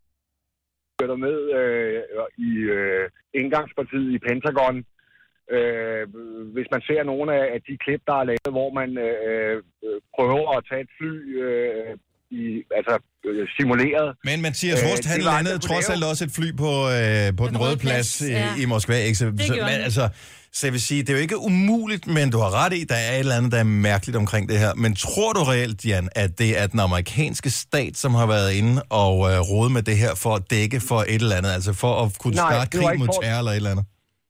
K: der med øh, i øh, indgangspartiet i Pentagon. Øh, hvis man ser nogle af, af de klip, der er lavet, hvor man øh, øh, prøver at tage et fly, øh, i, altså øh, simuleret.
A: Men Mathias Rust,
K: Øh, det var
A: han
K: aldrig
A: landede
K: på
A: trods
K: lave.
A: alt også et fly på, øh, på den, røde plads, plads ja. i Moskva. Ikke? Så,
K: Det
A: så,
K: gjorde
A: men,
K: han.
A: altså, så jeg vil sige, det er jo ikke umuligt, men du har ret i, der er et eller andet, der er mærkeligt omkring det her. Men tror du reelt, Jan, at det er den amerikanske stat, som har været inde og øh, rode med det her for at dække for et eller andet? Altså for at kunne
K: Nej,
A: starte
K: det var
A: krig
K: ikke
A: mod
K: for-
A: terror eller et eller andet?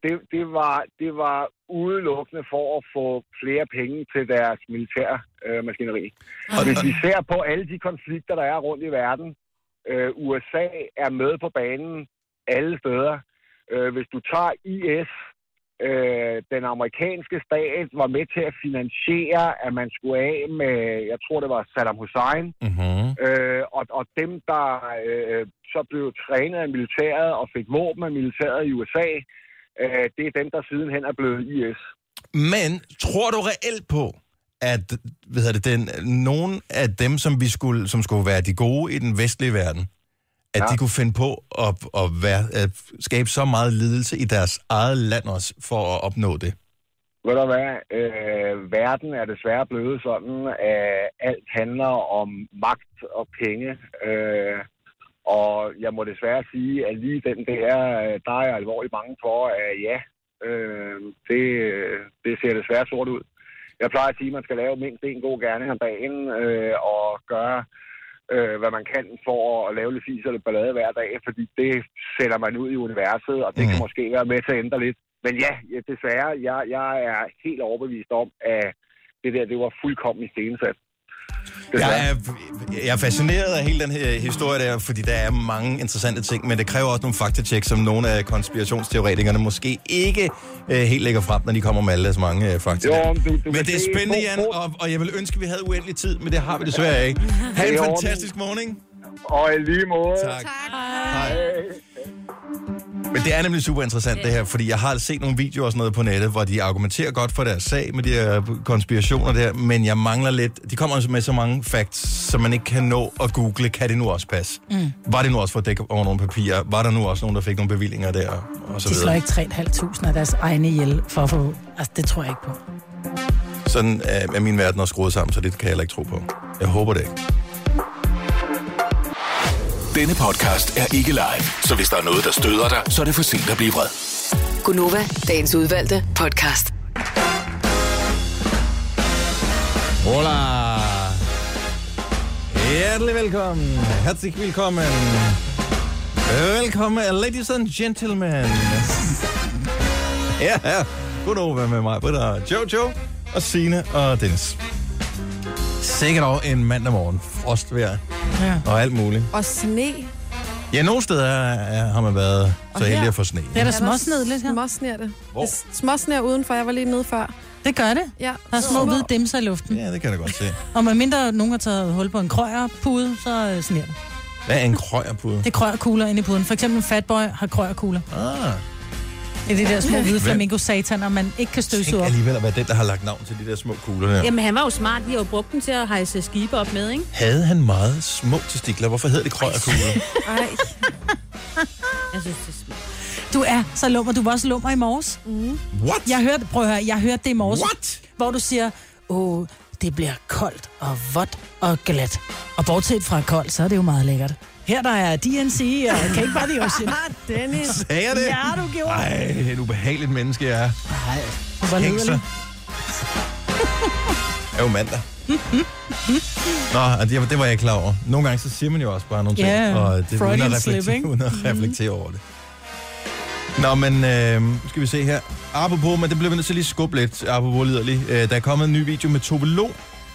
K: det, det, var, det var udelukkende for at få flere penge til deres militære øh, maskineri. Og hvis vi ser på alle de konflikter, der er rundt i verden, øh, USA er med på banen alle steder. Øh, hvis du tager IS, øh, den amerikanske stat var med til at finansiere, at man skulle af med, jeg tror det var Saddam Hussein,
A: Mm-hmm.
K: Øh, og, og dem, der øh, så blev trænet af militæret og fik våben af militæret i USA, øh, det er dem, der sidenhen er blevet IS.
A: Men tror du reelt på, at hvad hedder det, den, nogen af dem, som, vi skulle, som skulle være de gode i den vestlige verden, at ja. de kunne finde på at, at, være, at skabe så meget lidelse i deres eget land også, for at opnå det?
K: Ved du hvad? Øh, verden er desværre blevet sådan, at alt handler om magt og penge. Øh, og jeg må desværre sige, at lige den der, øh, der er jeg alvorligt bange for, at ja, øh, det, det ser desværre sort ud. Jeg plejer at sige, at man skal lave mindst en god gerning om dagen øh, og gøre, øh, hvad man kan for at lave lidt fis eller ballade hver dag, fordi det sætter man ud i universet, og det mm. kan måske være med til at ændre lidt. Men ja, ja desværre, jeg, jeg er helt overbevist om, at det der, det var fuldkommen i stenesat.
A: Jeg er, jeg er fascineret af hele den her historie der, fordi der er mange interessante ting, men det kræver også nogle faktatjek, som nogle af konspirationsteoretikerne måske ikke øh, helt lægger frem, når de kommer med alle deres mange øh, fakta.
K: Jo, men du- du
A: men
K: kan
A: det er
K: se-
A: spændende,
K: Bo-
A: Jan,
K: Bo-
A: og, og jeg vil ønske, at vi havde uendelig tid, men det har vi desværre ikke. Ha'
K: Det
A: en
K: er
A: fantastisk morgen.
K: Og i lige måde.
A: Tak. Hej. Men det er nemlig super interessant det her, fordi jeg har set nogle videoer og sådan noget på nettet, hvor de argumenterer godt for deres sag med de her konspirationer der, men jeg mangler lidt, de kommer altså med så mange facts, som man ikke kan nå at google, kan det nu også passe? Mm. Var det nu også for at dække over nogle papirer? Var der nu også nogen, der fik nogle bevillinger der? Og så
B: De slår
A: videre.
B: ikke 3.500 af deres egne ihjel for at få... Altså, det tror jeg ikke på.
A: Sådan er, er min verden også skruet sammen, så det kan jeg heller ikke tro på. Jeg håber det ikke.
F: Denne podcast er ikke live, så hvis der er noget, der støder dig, så er det for sent at blive vred.
G: Gunova, dagens udvalgte podcast.
A: Hola! Hjertelig velkommen. Herzlich willkommen. Velkommen, ladies and gentlemen. Ja, ja. Godnova med mig, Britta, og Jojo og Sine og Dennis. Sikkert over en mandag morgen. Frostvejr
C: Ja.
A: og alt muligt.
C: Og sne.
A: Ja, nogle steder er- har man været så heldig at få sne.
C: Ja, småsned lidt her. Småsner det.
A: Hvor?
C: Det er Småsner udenfor. Jeg var lige nede før.
B: Det gør det.
C: Ja.
B: Der er små hvide dimser i luften.
A: Ja, det kan jeg da godt se.
B: Og medmindre nogen har taget hul på en krøjer pude, så øh, sner det.
A: Hvad er en krøjerpude?
B: Det er krøjerkugler inde i puden. For eksempel en fatboy har krøjerkugler.
A: Ah.
B: Det er de der små hvide
A: Hvem-
B: flamingo-sataner, man ikke kan støvsuge
A: Tænk
B: op.
A: alligevel at være den, der har lagt navn til de der små kugler der.
H: Jamen, han var jo smart. Vi har jo brugt den til at hejse skibe op med, ikke?
A: Havde han meget små testikler? Hvorfor hedder det krøjerkugler?
H: Nej. Jeg synes, det er smart.
B: Du er så lummer. Du var også lummer i morges. Mm.
A: What?
B: Jeg hørte, prøv at høre, jeg hørte det i morges.
A: What?
B: Hvor du siger, åh, det bliver koldt og vådt og glat. Og bortset fra koldt, så er det jo meget lækkert. Her der er DNC og Cake Body Ocean.
C: Ah, Dennis.
A: Sagde jeg det?
B: Ja, du gjorde.
A: Ej, et ubehageligt menneske, jeg er.
B: Nej, du var
A: Tænk så.
B: lederlig.
A: Det er jo mandag. Nå, og det, det var jeg ikke klar over. Nogle gange så siger man jo også bare nogle ting,
B: Ja,
A: og det, uden,
B: Freudian
A: at
B: slip,
A: reflektere,
B: ikke? Mhm.
A: uden at reflektere over det. Nå, men øh, nu skal vi se her. Apropos, men det bliver vi nødt til lige at skubbe lidt, apropos liderlig. Øh, der er kommet en ny video med Tove Lo.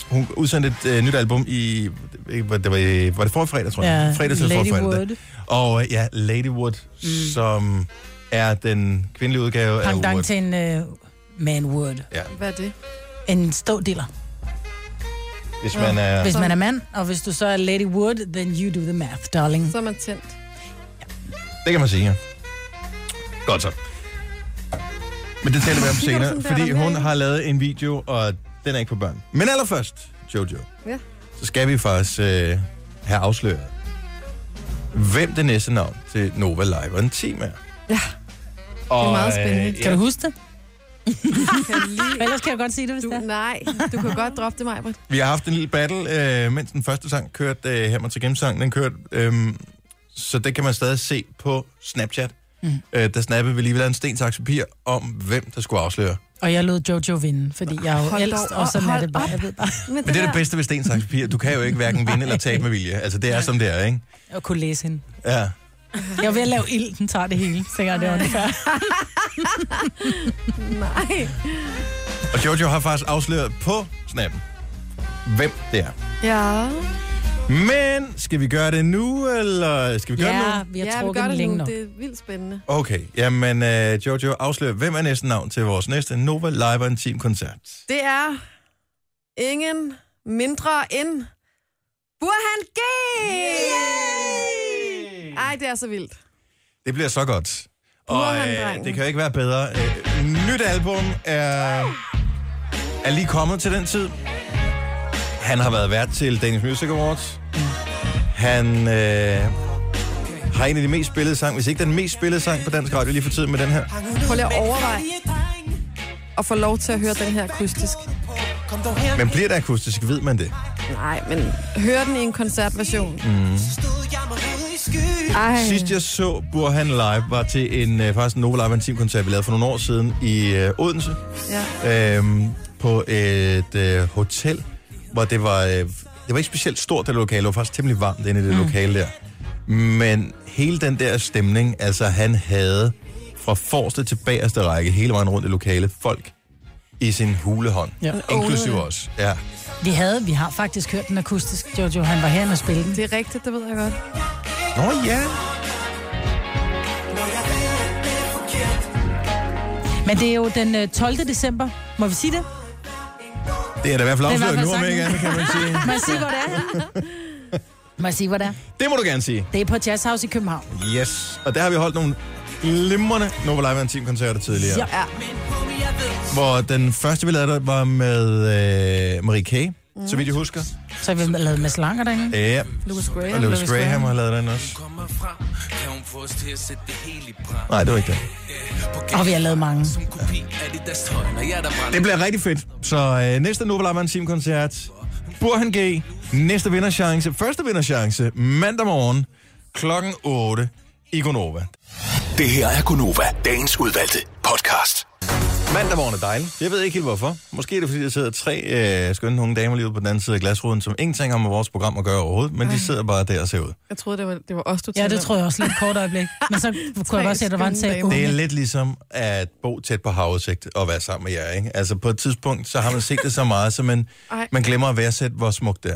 A: Hun udsendte et øh, nyt album i, det var, det var, i- var det forrige fredag, tror jeg?
B: Ja,
A: fredag til
B: Lady
A: forrige
B: Wood.
A: fredag. Og øh, ja, Lady Wood, mm. som er den kvindelige udgave af Wood.
B: Pangdang til en uh, manwood.
A: Ja.
C: Hvad er det?
B: En stådiller.
A: Hvis man er...
B: Hvis man er mand, og hvis du så er Lady Wood, then you do the math, darling.
C: Så er man tændt.
A: Det kan man sige, ja. Godt så. Men det taler vi om senere, fordi hun har lavet en video, og den er ikke for børn. Men allerførst, Jojo,
C: Ja.
A: så skal vi faktisk øh, have afsløret, hvem det næste navn til Nova Live og en team er.
C: Ja.
A: Og,
C: det er meget spændende.
A: Øh, ja. kan du
B: huske det? Ellers kan jeg godt sige det, hvis
C: du, det er. Nej, du kan godt droppe det, Majbrit.
A: Vi har haft en lille battle, øh, mens den første sang kørte, øh, her til gennemsangen, den kørte. Øh, så det kan man stadig se på Snapchat. Mm. Øh, der snappede vi lige ved en sten, saks, papir om, hvem der skulle afsløre.
B: Og jeg lod Jojo vinde, fordi jeg er jo
C: Hold
B: ældst,
C: dog
B: og sådan
C: op,
B: er det bare.
C: hold
B: Jeg ved bare.
C: Men
A: Men det er det bedste ved sten, saks, papir. Du kan jo ikke hverken vinde eller tabe med vilje. Altså, det er som det er, ikke?
B: Jeg kunne læse hende.
A: Ja.
B: Jeg var ved at lave ild, den tager det hele, tænker jeg, det var det før.
C: Nej.
A: Og Jojo har faktisk afsløret på snappen, hvem det er.
C: Ja.
A: Men skal vi gøre det nu, eller skal vi gøre det nu?
B: vi har
C: ja, vi
B: trukket
C: gør
B: den
C: det
B: længe
C: nu.
B: nok.
C: Det er vildt spændende.
A: Okay, jamen øh, Jojo afslører, hvem er næste navn til vores næste Nova Live og en Team koncert.
C: Det er ingen mindre end Burhan G! Yay! Ej, det er så vildt.
A: Det bliver så godt. Og
C: Burhan,
A: øh,
C: drengen.
A: det kan jo ikke være bedre. Øh, nyt album er, er lige kommet til den tid. Han har været vært til Danish Music Awards. Han øh, har en af de mest spillede sang, hvis ikke den mest spillede sang på dansk radio lige for tiden med den her.
C: Prøv lige at overveje at få lov til at høre den her akustisk.
A: Men bliver det akustisk, ved man det.
C: Nej, men hør den i en koncertversion.
A: Mm.
C: Ej.
A: Sidst jeg så Burhan live, var til en øh, faktisk en Nova Live Team koncert, vi lavede for nogle år siden i øh, Odense.
C: Ja.
A: øhm, på et øh, hotel, hvor det var, øh, det var ikke specielt stort, det lokale. Det var faktisk temmelig varmt inde i det mm. lokale der. Men hele den der stemning, altså han havde fra forreste til bagerste række, hele vejen rundt i lokalet, folk i sin hulehånd.
B: Ja.
A: Ja.
B: Han ownede
A: Inklusive
B: det.
A: os. Ja.
B: Vi, havde, vi har faktisk hørt den akustisk, Jojo. Han var herinde og spille den.
C: Det er rigtigt, det ved jeg godt.
A: Nå ja.
B: Men det er jo den øh, 12. december. Må vi sige det?
A: Det er da i hvert fald
B: Det er
A: afsløret
B: i hvert
A: nu,
B: fald
A: om ikke
B: sagt.
A: andet, kan man sige.
B: Må jeg sige, hvor det er henne? Må jeg sige, hvor det er?
A: Det må du gerne sige.
B: Det er på Jazz House i København.
A: Yes. Og der har vi holdt nogle glimrende Nova Live Team koncerter tidligere.
B: Ja.
A: Hvor den første, vi lavede, der var med øh, Marie Kay, mm. så vidt jeg husker.
B: Så har vi lavet Mads Langer derinde.
A: Ja,
C: Louis Graham.
A: og Louis Graham har lavet den også. Nej, det var ikke det.
B: Og vi har lavet mange.
A: Det bliver rigtig fedt. Så øh, næste Nova Live Team koncert, Burhan G, næste vinderchance, første vinderchance, mandag morgen, klokken 8 i Gonova.
F: Det her er Gonova, dagens udvalgte podcast.
A: Mandag morgen er dejlig. Jeg ved ikke helt hvorfor. Måske er det, fordi der sidder tre øh, skønne unge damer lige ude på den anden side af glasruden, som ingenting har med vores program at gøre overhovedet, men de sidder bare der og ser ud.
C: Jeg troede, det var, det var os, du
B: Ja,
C: talte
B: det
C: om.
B: tror jeg også lidt kort øjeblik. Men så kunne jeg godt se, at der var en sag
A: Det er
B: unge.
A: lidt ligesom at bo tæt på havudsigt og være sammen med jer, ikke? Altså på et tidspunkt, så har man set det så meget, så man,
H: Ej.
A: man glemmer at værdsætte, hvor smukt det er.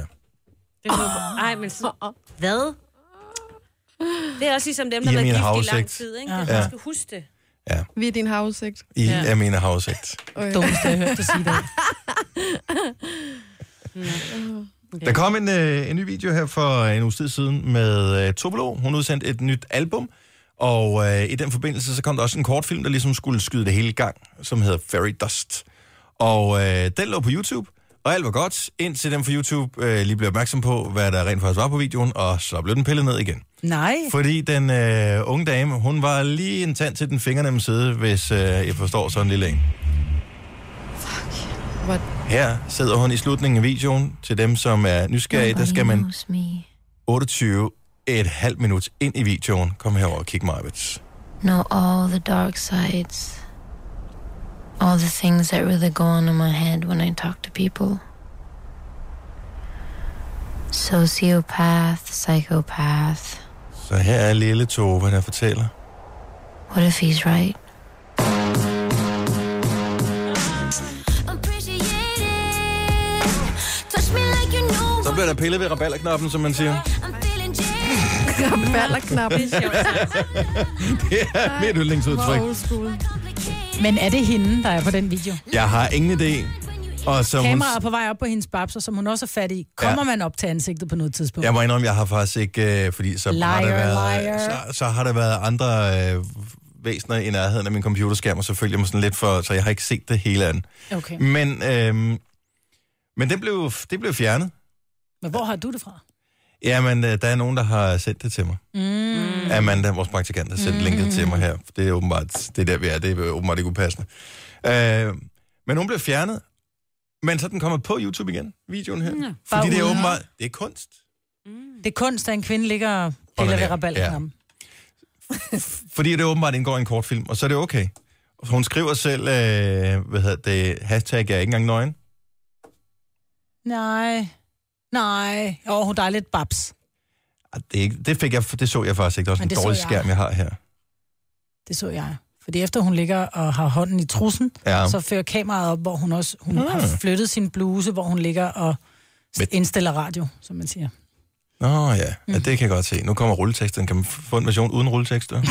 H: Det var, oh. Ej, men så, hvad? Det er også ligesom dem, der
A: I
H: har været
A: er min
H: gift i lang
A: havsigt.
H: tid, ikke?
A: Ja.
H: Ja. Man
A: Ja.
H: skal huske det.
C: Vi er din havudsigt.
A: I ja. er mine havudsigt.
C: Okay.
B: Dummeste, jeg har hørt dig sige det.
A: Der kom en, øh, en ny video her for en uges tid siden med øh, Tobolo. Hun udsendte et nyt album, og øh, i den forbindelse så kom der også en kortfilm, der ligesom skulle skyde det hele i gang, som hedder Fairy Dust. Og øh, den lå på YouTube, og alt var godt, indtil den fra YouTube øh, lige blev opmærksom på, hvad der rent faktisk var på videoen, og så blev den pillet ned igen.
B: Nej.
A: Fordi den øh, unge dame, hun var lige en tand til den fingernemme side, hvis øh, jeg forstår sådan en lille en.
C: What?
A: Her sidder hun i slutningen af videoen. Til dem, som er nysgerrige, der skal man
D: Hos me.
A: 28 et halvt minut ind i videoen. Kom herover og kig mig, Abits.
D: Know all the dark sides. All the things that really go on in my head when I talk to people. Sociopath, psychopath.
A: Så her er lille Tove, der fortæller.
D: What if he's right?
A: Så bliver der pillet ved rabalderknappen, som man siger.
C: Rabalderknappen.
A: det er mit yndlingsudtryk.
B: Men er det hende, der er på den video?
A: Jeg har ingen idé. Og som hun...
B: Kameraet er på vej op på hendes babser, som hun også er fat i. Kommer
A: Ja.
B: ja. man op til ansigtet på noget tidspunkt?
A: Jeg må indrømme, jeg har faktisk ikke, øh, fordi så har, der
B: Liar,
A: været, øh,
B: liar.
A: så, så har der været andre øh, væsener i nærheden af min computerskærm, og så følger jeg mig sådan lidt for, så jeg har ikke set det hele andet.
B: Okay.
A: Men, øh, men det, blev, det blev fjernet.
B: Men hvor har du det fra?
A: Jamen, øh, der er nogen, der har sendt det til mig. Mm. Amanda, vores praktikant, har sendt mm. linket til mig her. Det er åbenbart, det er der, vi er. Det er åbenbart ikke upassende. Øh, men hun blev fjernet. Men så er den kommer på YouTube igen, videoen her. Mm.
B: Bare
A: Fordi det er
B: uden
A: åbenbart, det er kunst.
B: Det er kunst, at en kvinde ligger og piller
A: Onanerer,
B: ved rabalden
A: Fordi det åbenbart indgår i en kortfilm, og så er det okay. Hun skriver selv, øh, hvad hedder det, hashtag jeg er ikke engang nøgen.
B: Nej. Nej. Åh, hun der er lidt babs.
A: Ah, Det, er ikke, det, fik jeg, det så jeg faktisk ikke. Det er også
B: Men
A: en
B: det så
A: dårlig
B: jeg.
A: skærm, jeg har her.
B: Det så jeg. Fordi efter hun ligger og har hånden i trussen,
A: Ja.
B: ja. så fører kameraet op, hvor hun også hun
A: Ah.
B: har flyttet sin bluse, hvor hun ligger og
A: Men-
B: indstiller radio, som man siger.
A: Nå ja, mm. ja det kan jeg godt se. Nu kommer rulleteksten. Kan man f- få en version uden rulletekster?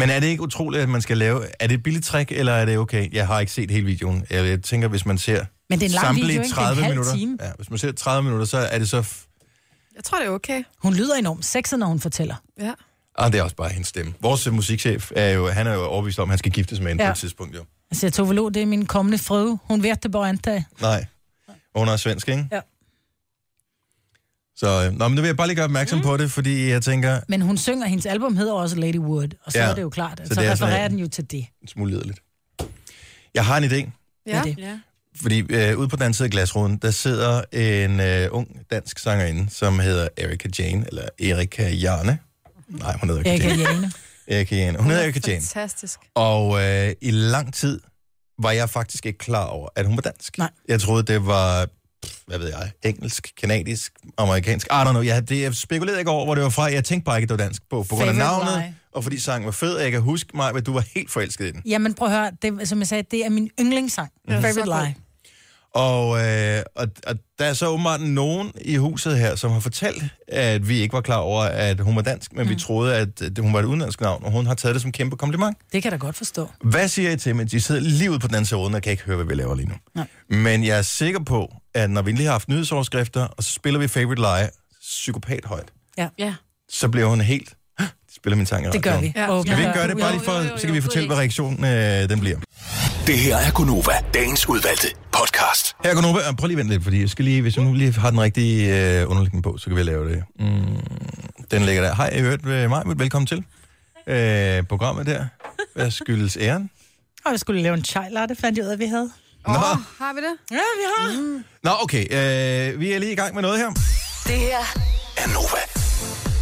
A: Men er det ikke utroligt, at man skal lave... Er det et billigt trick, eller er det okay? Jeg har ikke set hele videoen. Jeg, jeg tænker, hvis man ser
B: Men det er en lang
A: samtlige
B: video, ikke? Det er en
A: 30
B: halv
A: minutter...
B: time.
A: Ja, hvis man ser 30 minutter, så er det så... F-
C: Jeg tror, det er okay.
B: Hun lyder enormt sexet, når hun fortæller.
C: Ja.
A: ah, det er også bare hendes stemme. Vores øh, musikchef er jo... Han er jo overbevist om, at han skal giftes med hende ja. på
B: Ja.
A: et tidspunkt, jo.
B: Altså, jeg tog vel det er min kommende frøde. Hun ved det bare antage.
A: Nej. Og Hun er svensk, ikke?
B: Ja.
A: Så, øh, nå, men det vil jeg bare lige gøre opmærksom mm. på det, fordi jeg tænker,
B: Men hun synger, hendes album hedder også Lady Wood, og så
A: Ja.
B: ja. er det jo klart,
A: Så
B: at så, så
A: det er sådan
B: refererer
A: en-
B: den jo til det.
A: en smule liderligt. Jeg har en idé.
B: Ja. Det.
H: ja.
A: Fordi øh, ude på den anden side af glasruden, der sidder en øh, ung dansk sangerinde, som hedder Erika Jane, eller Erika Jane. Nej, hun hedder ikke
B: Erika
A: Jane.
B: Jane.
A: Erika Jane. Hun hedder Erika Jane.
C: Fantastisk.
A: Og øh, i lang tid var jeg faktisk ikke klar over, at hun var dansk.
B: Nej.
A: Jeg troede, det var, pff, hvad ved jeg, engelsk, kanadisk, amerikansk. I don't know. Jeg, det, jeg spekulerede ikke over, hvor det var fra. Jeg tænkte bare ikke, at det var dansk på, på grund af
B: Favorite
A: navnet,
B: lie.
A: og fordi sangen var fed. og Jeg kan huske mig, at du var helt forelsket i den.
B: Jamen prøv at høre, det, som jeg sagde, det er min yndlingssang.
A: Mhm.
B: Mm.
A: Så
B: Favorite
A: god.
B: Lie.
A: Og, øh, og, og der er så åbenbart nogen i huset her, som har fortalt, at vi ikke var klar over, at hun var dansk, men mm. vi troede, at øh, hun var et udenlandsk navn, og hun har taget det som kæmpe kompliment.
B: Det kan jeg da godt forstå.
A: Hvad siger I til mig? De sidder lige ude på den anden side af ruden, og kan ikke høre, hvad vi laver lige nu. Nej. Men jeg er sikker på, at når vi lige har haft nyhedsoverskrifter, og så spiller vi Favorite Lie psykopat højt,
B: Ja.
H: ja.
A: så bliver hun helt... "Hå, De spiller min sang i
B: Det gør
A: radioen."
B: vi. Ja.
A: Skal vi ikke gøre det bare lige for, så kan vi fortælle, hvad reaktionen øh, den bliver.
F: Det her er Gunova, dagens udvalgte podcast.
A: Her går Nova. Prøv lige at vente lidt, fordi jeg skal lige, hvis jeg nu lige har den rigtige øh, underlægning på, så kan vi lave det. Mm, den ligger der. Hej, jeg hørt øh, mig. Velkommen til øh, programmet der. Hvad skyldes æren?
B: Og vi skulle lave en chai latte, fandt jeg ud af, at vi havde.
A: Nå,
C: Har vi det?
B: Ja, vi har. Mm.
A: Nå okay. Øh, vi er lige i gang med noget her.
G: Det her
A: er Nova.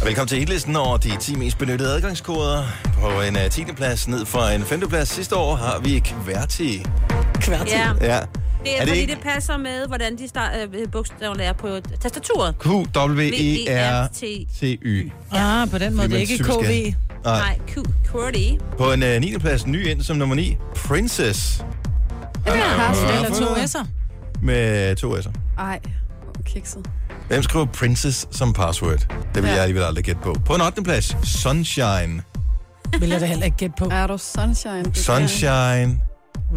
A: Og velkommen til hitlisten over de 10 mest benyttede adgangskoder. På en uh, 10. plads ned fra en 5. plads sidste år har vi Kvarti.
B: Kvarti?
H: Ja.
A: Ja.
H: Det er,
A: er det
H: fordi
A: ikke
H: det passer med, hvordan de start, øh, bogstaverne er på tastaturet.
A: E
H: E
A: Q-W-E-R-T-Y?
B: Ah, på den måde. Det er ikke
A: Fordi man
B: KV.
A: typisk er- Nej.
H: Nej, Q, QWERTY.
A: På en øh, 9. plads, ny ind som nummer 9, Princess.
C: Er det Karsten
A: Ja.
C: eller to
B: S'er?
A: Med to S'er.
C: Ej, kikset.
A: Hvem skriver Princess som password? Det vil ja. jeg alligevel aldrig gætte på. På en 8. plads, Sunshine.
B: Vil jeg da heller ikke gætte på.
C: Er du sunshine?
A: Sunshine.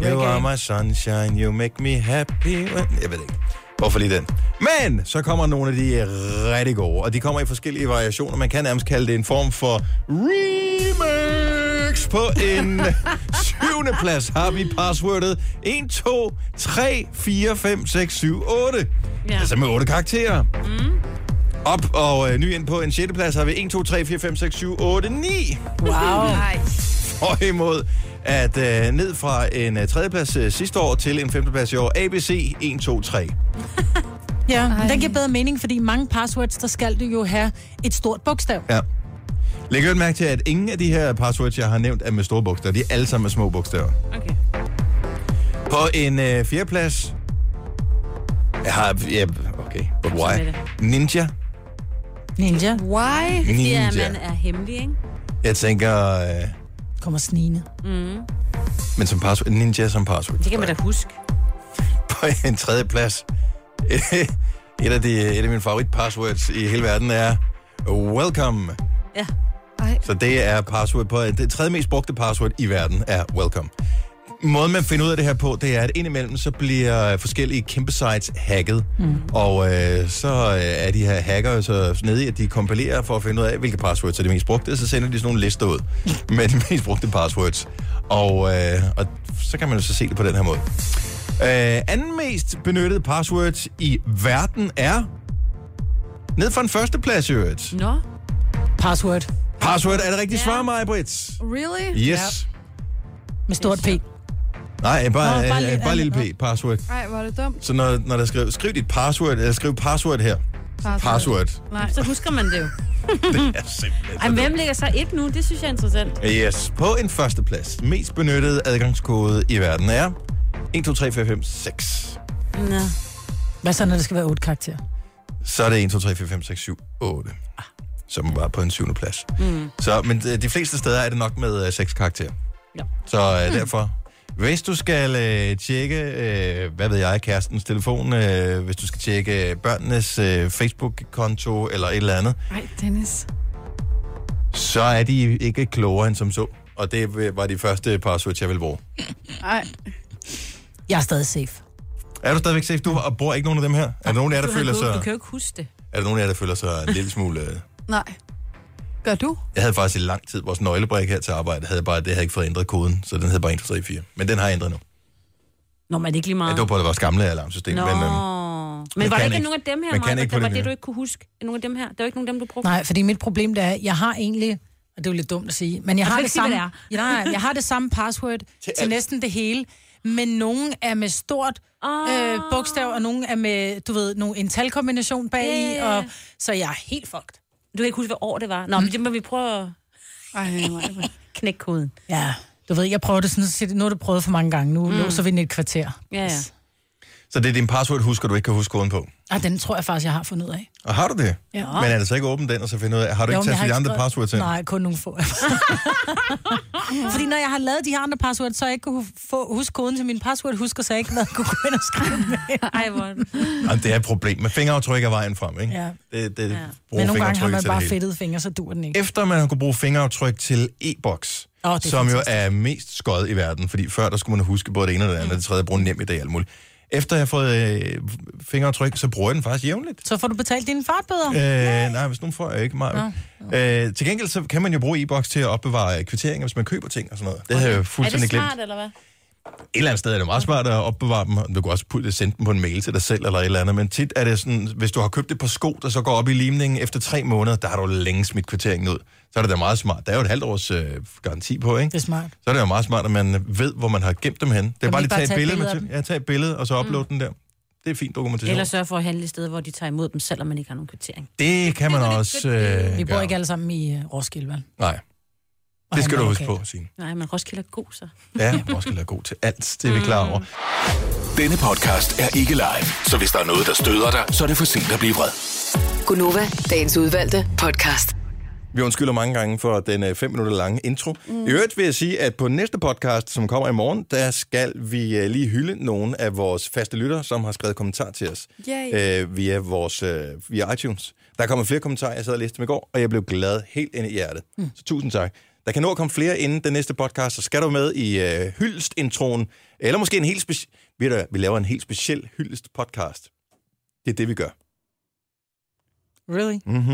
A: You
C: Reggae.
A: are my sunshine, you make me happy. when- Jeg ved det ikke. Hvorfor lige den? Men så kommer nogle af de øh, rigtig gode, og de kommer i forskellige variationer. Man kan nærmest kalde det en form for remix på en syvende plads. Har vi passwordet 1, 2, 3, 4, 5, 6, 7, 8.
F: Ja.
A: Ja. Altså med 8 karakterer. Mm. Op og øh, ny ind på en 6. plads har vi 1, 2, 3, 4, 5, 6, 7, 8, 9.
B: Wow.
A: Hvorimod at øh, ned fra en øh, tredjeplads øh, sidste år til en femteplads i år, ABC 1, 2, 3.
B: Ja, men den giver bedre mening, fordi i mange passwords, der skal du jo have et stort bogstav.
A: Ja. Læg øvrigt mærke til, at ingen af de her passwords, jeg har nævnt, er med store bogstaver. De er alle sammen med små bogstaver.
H: Okay.
A: På en øh, fjerdeplads... Jeg har... Ja, okay. But
H: med
A: why?
H: det.
A: Ninja.
B: Ninja.
C: Why?
H: Fordi at
A: Ninja.
H: man er hemmelig, ikke?
A: Jeg tænker... Øh,
B: Kommer snigende.
H: Mm.
A: men som password. Ninja som password.
H: Det kan man da huske.
A: På en tredjeplads. et, af de, et af mine favorit passwords i hele verden er... Welcome.
H: Ja.
A: Så det er password på, det tredje mest brugte password i verden er welcome. Måden, man finder ud af det her på, det er, at indimellem så bliver forskellige kæmpe sites hacket. Mm. Og øh, så øh, er de her hacker jo så nede i, at de kompilerer for at finde ud af, hvilke passwords er de mest brugte, og så sender de sådan nogle lister ud med de mest brugte passwords. Og, øh, og så kan man jo så se det på den her måde. Øh, anden mest benyttede passwords i verden er... Ned fra en førsteplads i øvrigt.
H: Nå.
B: Password.
A: Password er det rigtige svar, Maja Brits.
C: Really?
A: Yes.
B: Med stort P.
A: Nej, bare,
C: Nå,
A: Nå,
C: bare
A: bare,
C: lille-
A: lille, bare lille p, password.
C: Nej, hvor er det dumt.
A: Så når, når der skriver, skriv dit password, eller skriv password her.
H: Password.
A: Password.
H: Nej. Så husker man det jo.
A: Det er simpelthen
H: Ej,
A: så
H: hvem ligger så et nu? Det synes jeg er interessant.
A: dumt. Yes. På en førsteplads. Mest benyttede adgangskode i verden er 1, 2, 3, 4, 5, 6.
H: Nå.
B: Hvad så, når det skal være otte karakterer?
A: Så er det 1, 2, 3, 4, 5, 6, 7, 8.
H: Ah.
A: Som var på en syvende plads.
B: Mm.
A: Så, men øh, de fleste steder er det nok med øh, seks karakterer.
H: Ja. Hmm.
A: Så øh, derfor, hvis du skal øh, tjekke, øh, hvad ved jeg, kærestens telefon, øh, hvis du skal tjekke øh, børnenes øh, Facebook-konto eller et eller andet,
C: Nej, Dennis.
A: så er de ikke klogere end som så. Og det øh, var de første passwords, jeg ville bruge.
C: Nej.
B: Jeg er stadig safe.
A: Er du stadigvæk safe? Du og bruger ikke nogen af dem her? Er der nogen af jer,
H: Du
A: der
H: har
A: føler
H: gået- Du kan
A: sig...
H: jo ikke huske det.
A: Er der nogen af jer, der føler sig en lille smule... øh,
C: Nej. Gør du?
A: Jeg havde faktisk i lang tid, vores nøglebrik her til arbejde, havde bare, det havde jeg ikke fået ændret koden, så den hed bare 1, 2, 3, 4. Men den har jeg ændret nu.
H: Nå, men er det ikke lige meget?
A: Ja, det var på det vores gamle alarmsystem.
H: Nå.
A: Men, øhm,
H: men
A: man
H: var der ikke,
A: kan ikke-
H: nogen af dem her,
A: man kan
H: Maja,
A: ikke
H: der
A: på
H: var
A: det
H: det,
A: nye.
H: du ikke kunne huske? Nogle af dem her? Der var ikke nogen af dem, du brugte?
B: Nej, fordi mit problem det er, at jeg har egentlig, og det er jo lidt dumt at sige, men jeg
H: Du kan
B: har det
H: ikke sige, hvad
B: samme,
H: det er.
B: Ja, nej, jeg har det samme password til, til
H: alt.
B: næsten det hele, men nogen er med stort oh.
H: Ah.
B: øh, bogstav, og nogen er med, du ved, nogen, en talkombination bagi,
H: Ja.
B: yeah. og så jeg er helt fucked.
H: Du kan ikke huske, hvad år det var. Nå, men det må vi prøve at knække koden.
B: Ja, du ved, jeg prøver det sådan, så nu har du prøvet for mange gange, nu
H: Mm.
B: mm. låser vi den i et kvarter.
H: Ja, ja.
A: Så det er din password, husker du ikke kan huske koden på.
B: Og Ah, den tror jeg faktisk, jeg har fundet ud af.
A: Og har du det?
B: Ja.
A: Men er det så ikke åbent den, og så finde ud af, har du
B: Jo,
A: jo,
B: men
A: ikke
B: jeg
A: taget de andre
B: skrevet-
A: passwords ind?
B: Nej, kun nogle få. Fordi når jeg har lavet de her andre passwords, så jeg ikke kunne hu- få, huske koden til min password, husker så jeg ikke, hvad jeg kunne gå ind og skrive med.
H: Ej, hvor...
A: Jamen, det er et problem. Men fingeraftryk er vejen frem, ikke?
B: Ja.
A: Det, det, ja.
B: Men nogle gange har man bare fedtede fingre, så dur den ikke.
A: Efter man kunne bruge fingeraftryk til e-boks,
B: Åh,
A: oh,
B: det er
A: som jo
B: fantastisk. Mm.
A: er mest skød i verden, fordi før der skulle man huske både det ene og det andet, det tredje, bruge nem i dag og alt muligt. Efter jeg har fået øh, fingeraftryk, så bruger jeg den faktisk jævnligt.
B: Så får du betalt dine fartbøder.
A: Øh, nej, hvis nogen får jeg ikke meget. Øh, til gengæld så kan man jo bruge e-boks til at opbevare kvitteringer, hvis man køber ting og sådan noget. Det havde jeg jo
H: er
A: fuldstændig
H: det
A: glemt.
H: smart, eller hvad?
A: et eller andet sted er det meget smart at opbevare dem. Du kan også putte, sende dem på en mail til dig selv eller et eller andet. Men tit er det sådan, hvis du har købt et par sko, der så går op i limningen efter tre måneder, der har du længe smidt kvitteringen ud. Så er det da meget smart. Der er jo et halvt års øh, garanti på, ikke? Det
B: er smart.
A: Så er det jo meget smart, at man ved, hvor man har gemt dem hen. Det er
H: Kan
A: bare
H: vi
A: lige
H: bare
A: at
H: tage
A: tage et
H: et
A: billede,
H: billede
A: med
H: af
A: til. Ja, tage et billede, og så upload den der. Det er fint dokumentation.
H: Eller sørge for at handle et sted, hvor de tager imod dem, selvom man ikke har nogen kvittering.
A: Det kan man også øh,
B: Vi bor
A: gøre.
B: ikke alle sammen i øh, Roskilde, vel?
A: Nej.
B: Og
A: Det skal
B: handler
A: du huske
B: lokalt.
A: på, Signe.
H: Nej, men Roskilde er god, så.
A: Ja, Roskilde er god til alt. Det er vi klar over.
F: Denne podcast er ikke live, så hvis der er noget, der støder dig, så er det for sent at blive vred.
G: Gunova, dagens udvalgte podcast.
A: Vi undskylder mange gange for den øh, fem minutter lange intro.
G: Mm.
A: Mm. I øvrigt vil jeg sige, at på næste podcast, som kommer i morgen, der skal vi øh, lige hylde nogle af vores faste lyttere, som har skrevet kommentar til os
F: Yay.
A: øh, via, vores, øh, via iTunes. Der kommer flere kommentarer, jeg sad og læste dem i går, og jeg blev glad helt ind i hjertet. Mm. Så tusind tak. Der kan nå at komme flere inden den næste podcast, så skal du med i øh, hyldestintroen, eller måske en helt speciel... Ved du, hvad, vi laver en helt speciel hyldest podcast. Det er det, vi gør.
B: Really?
A: Mm-hmm.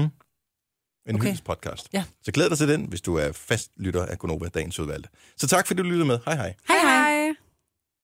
A: En
B: Okay.
A: okay. podcast.
B: Ja.
A: Så glæd dig til den, hvis du er fast lytter af Gonova, dagens udvalgte. Så tak, fordi du lyttede med. Hej hej.
B: Hej hej.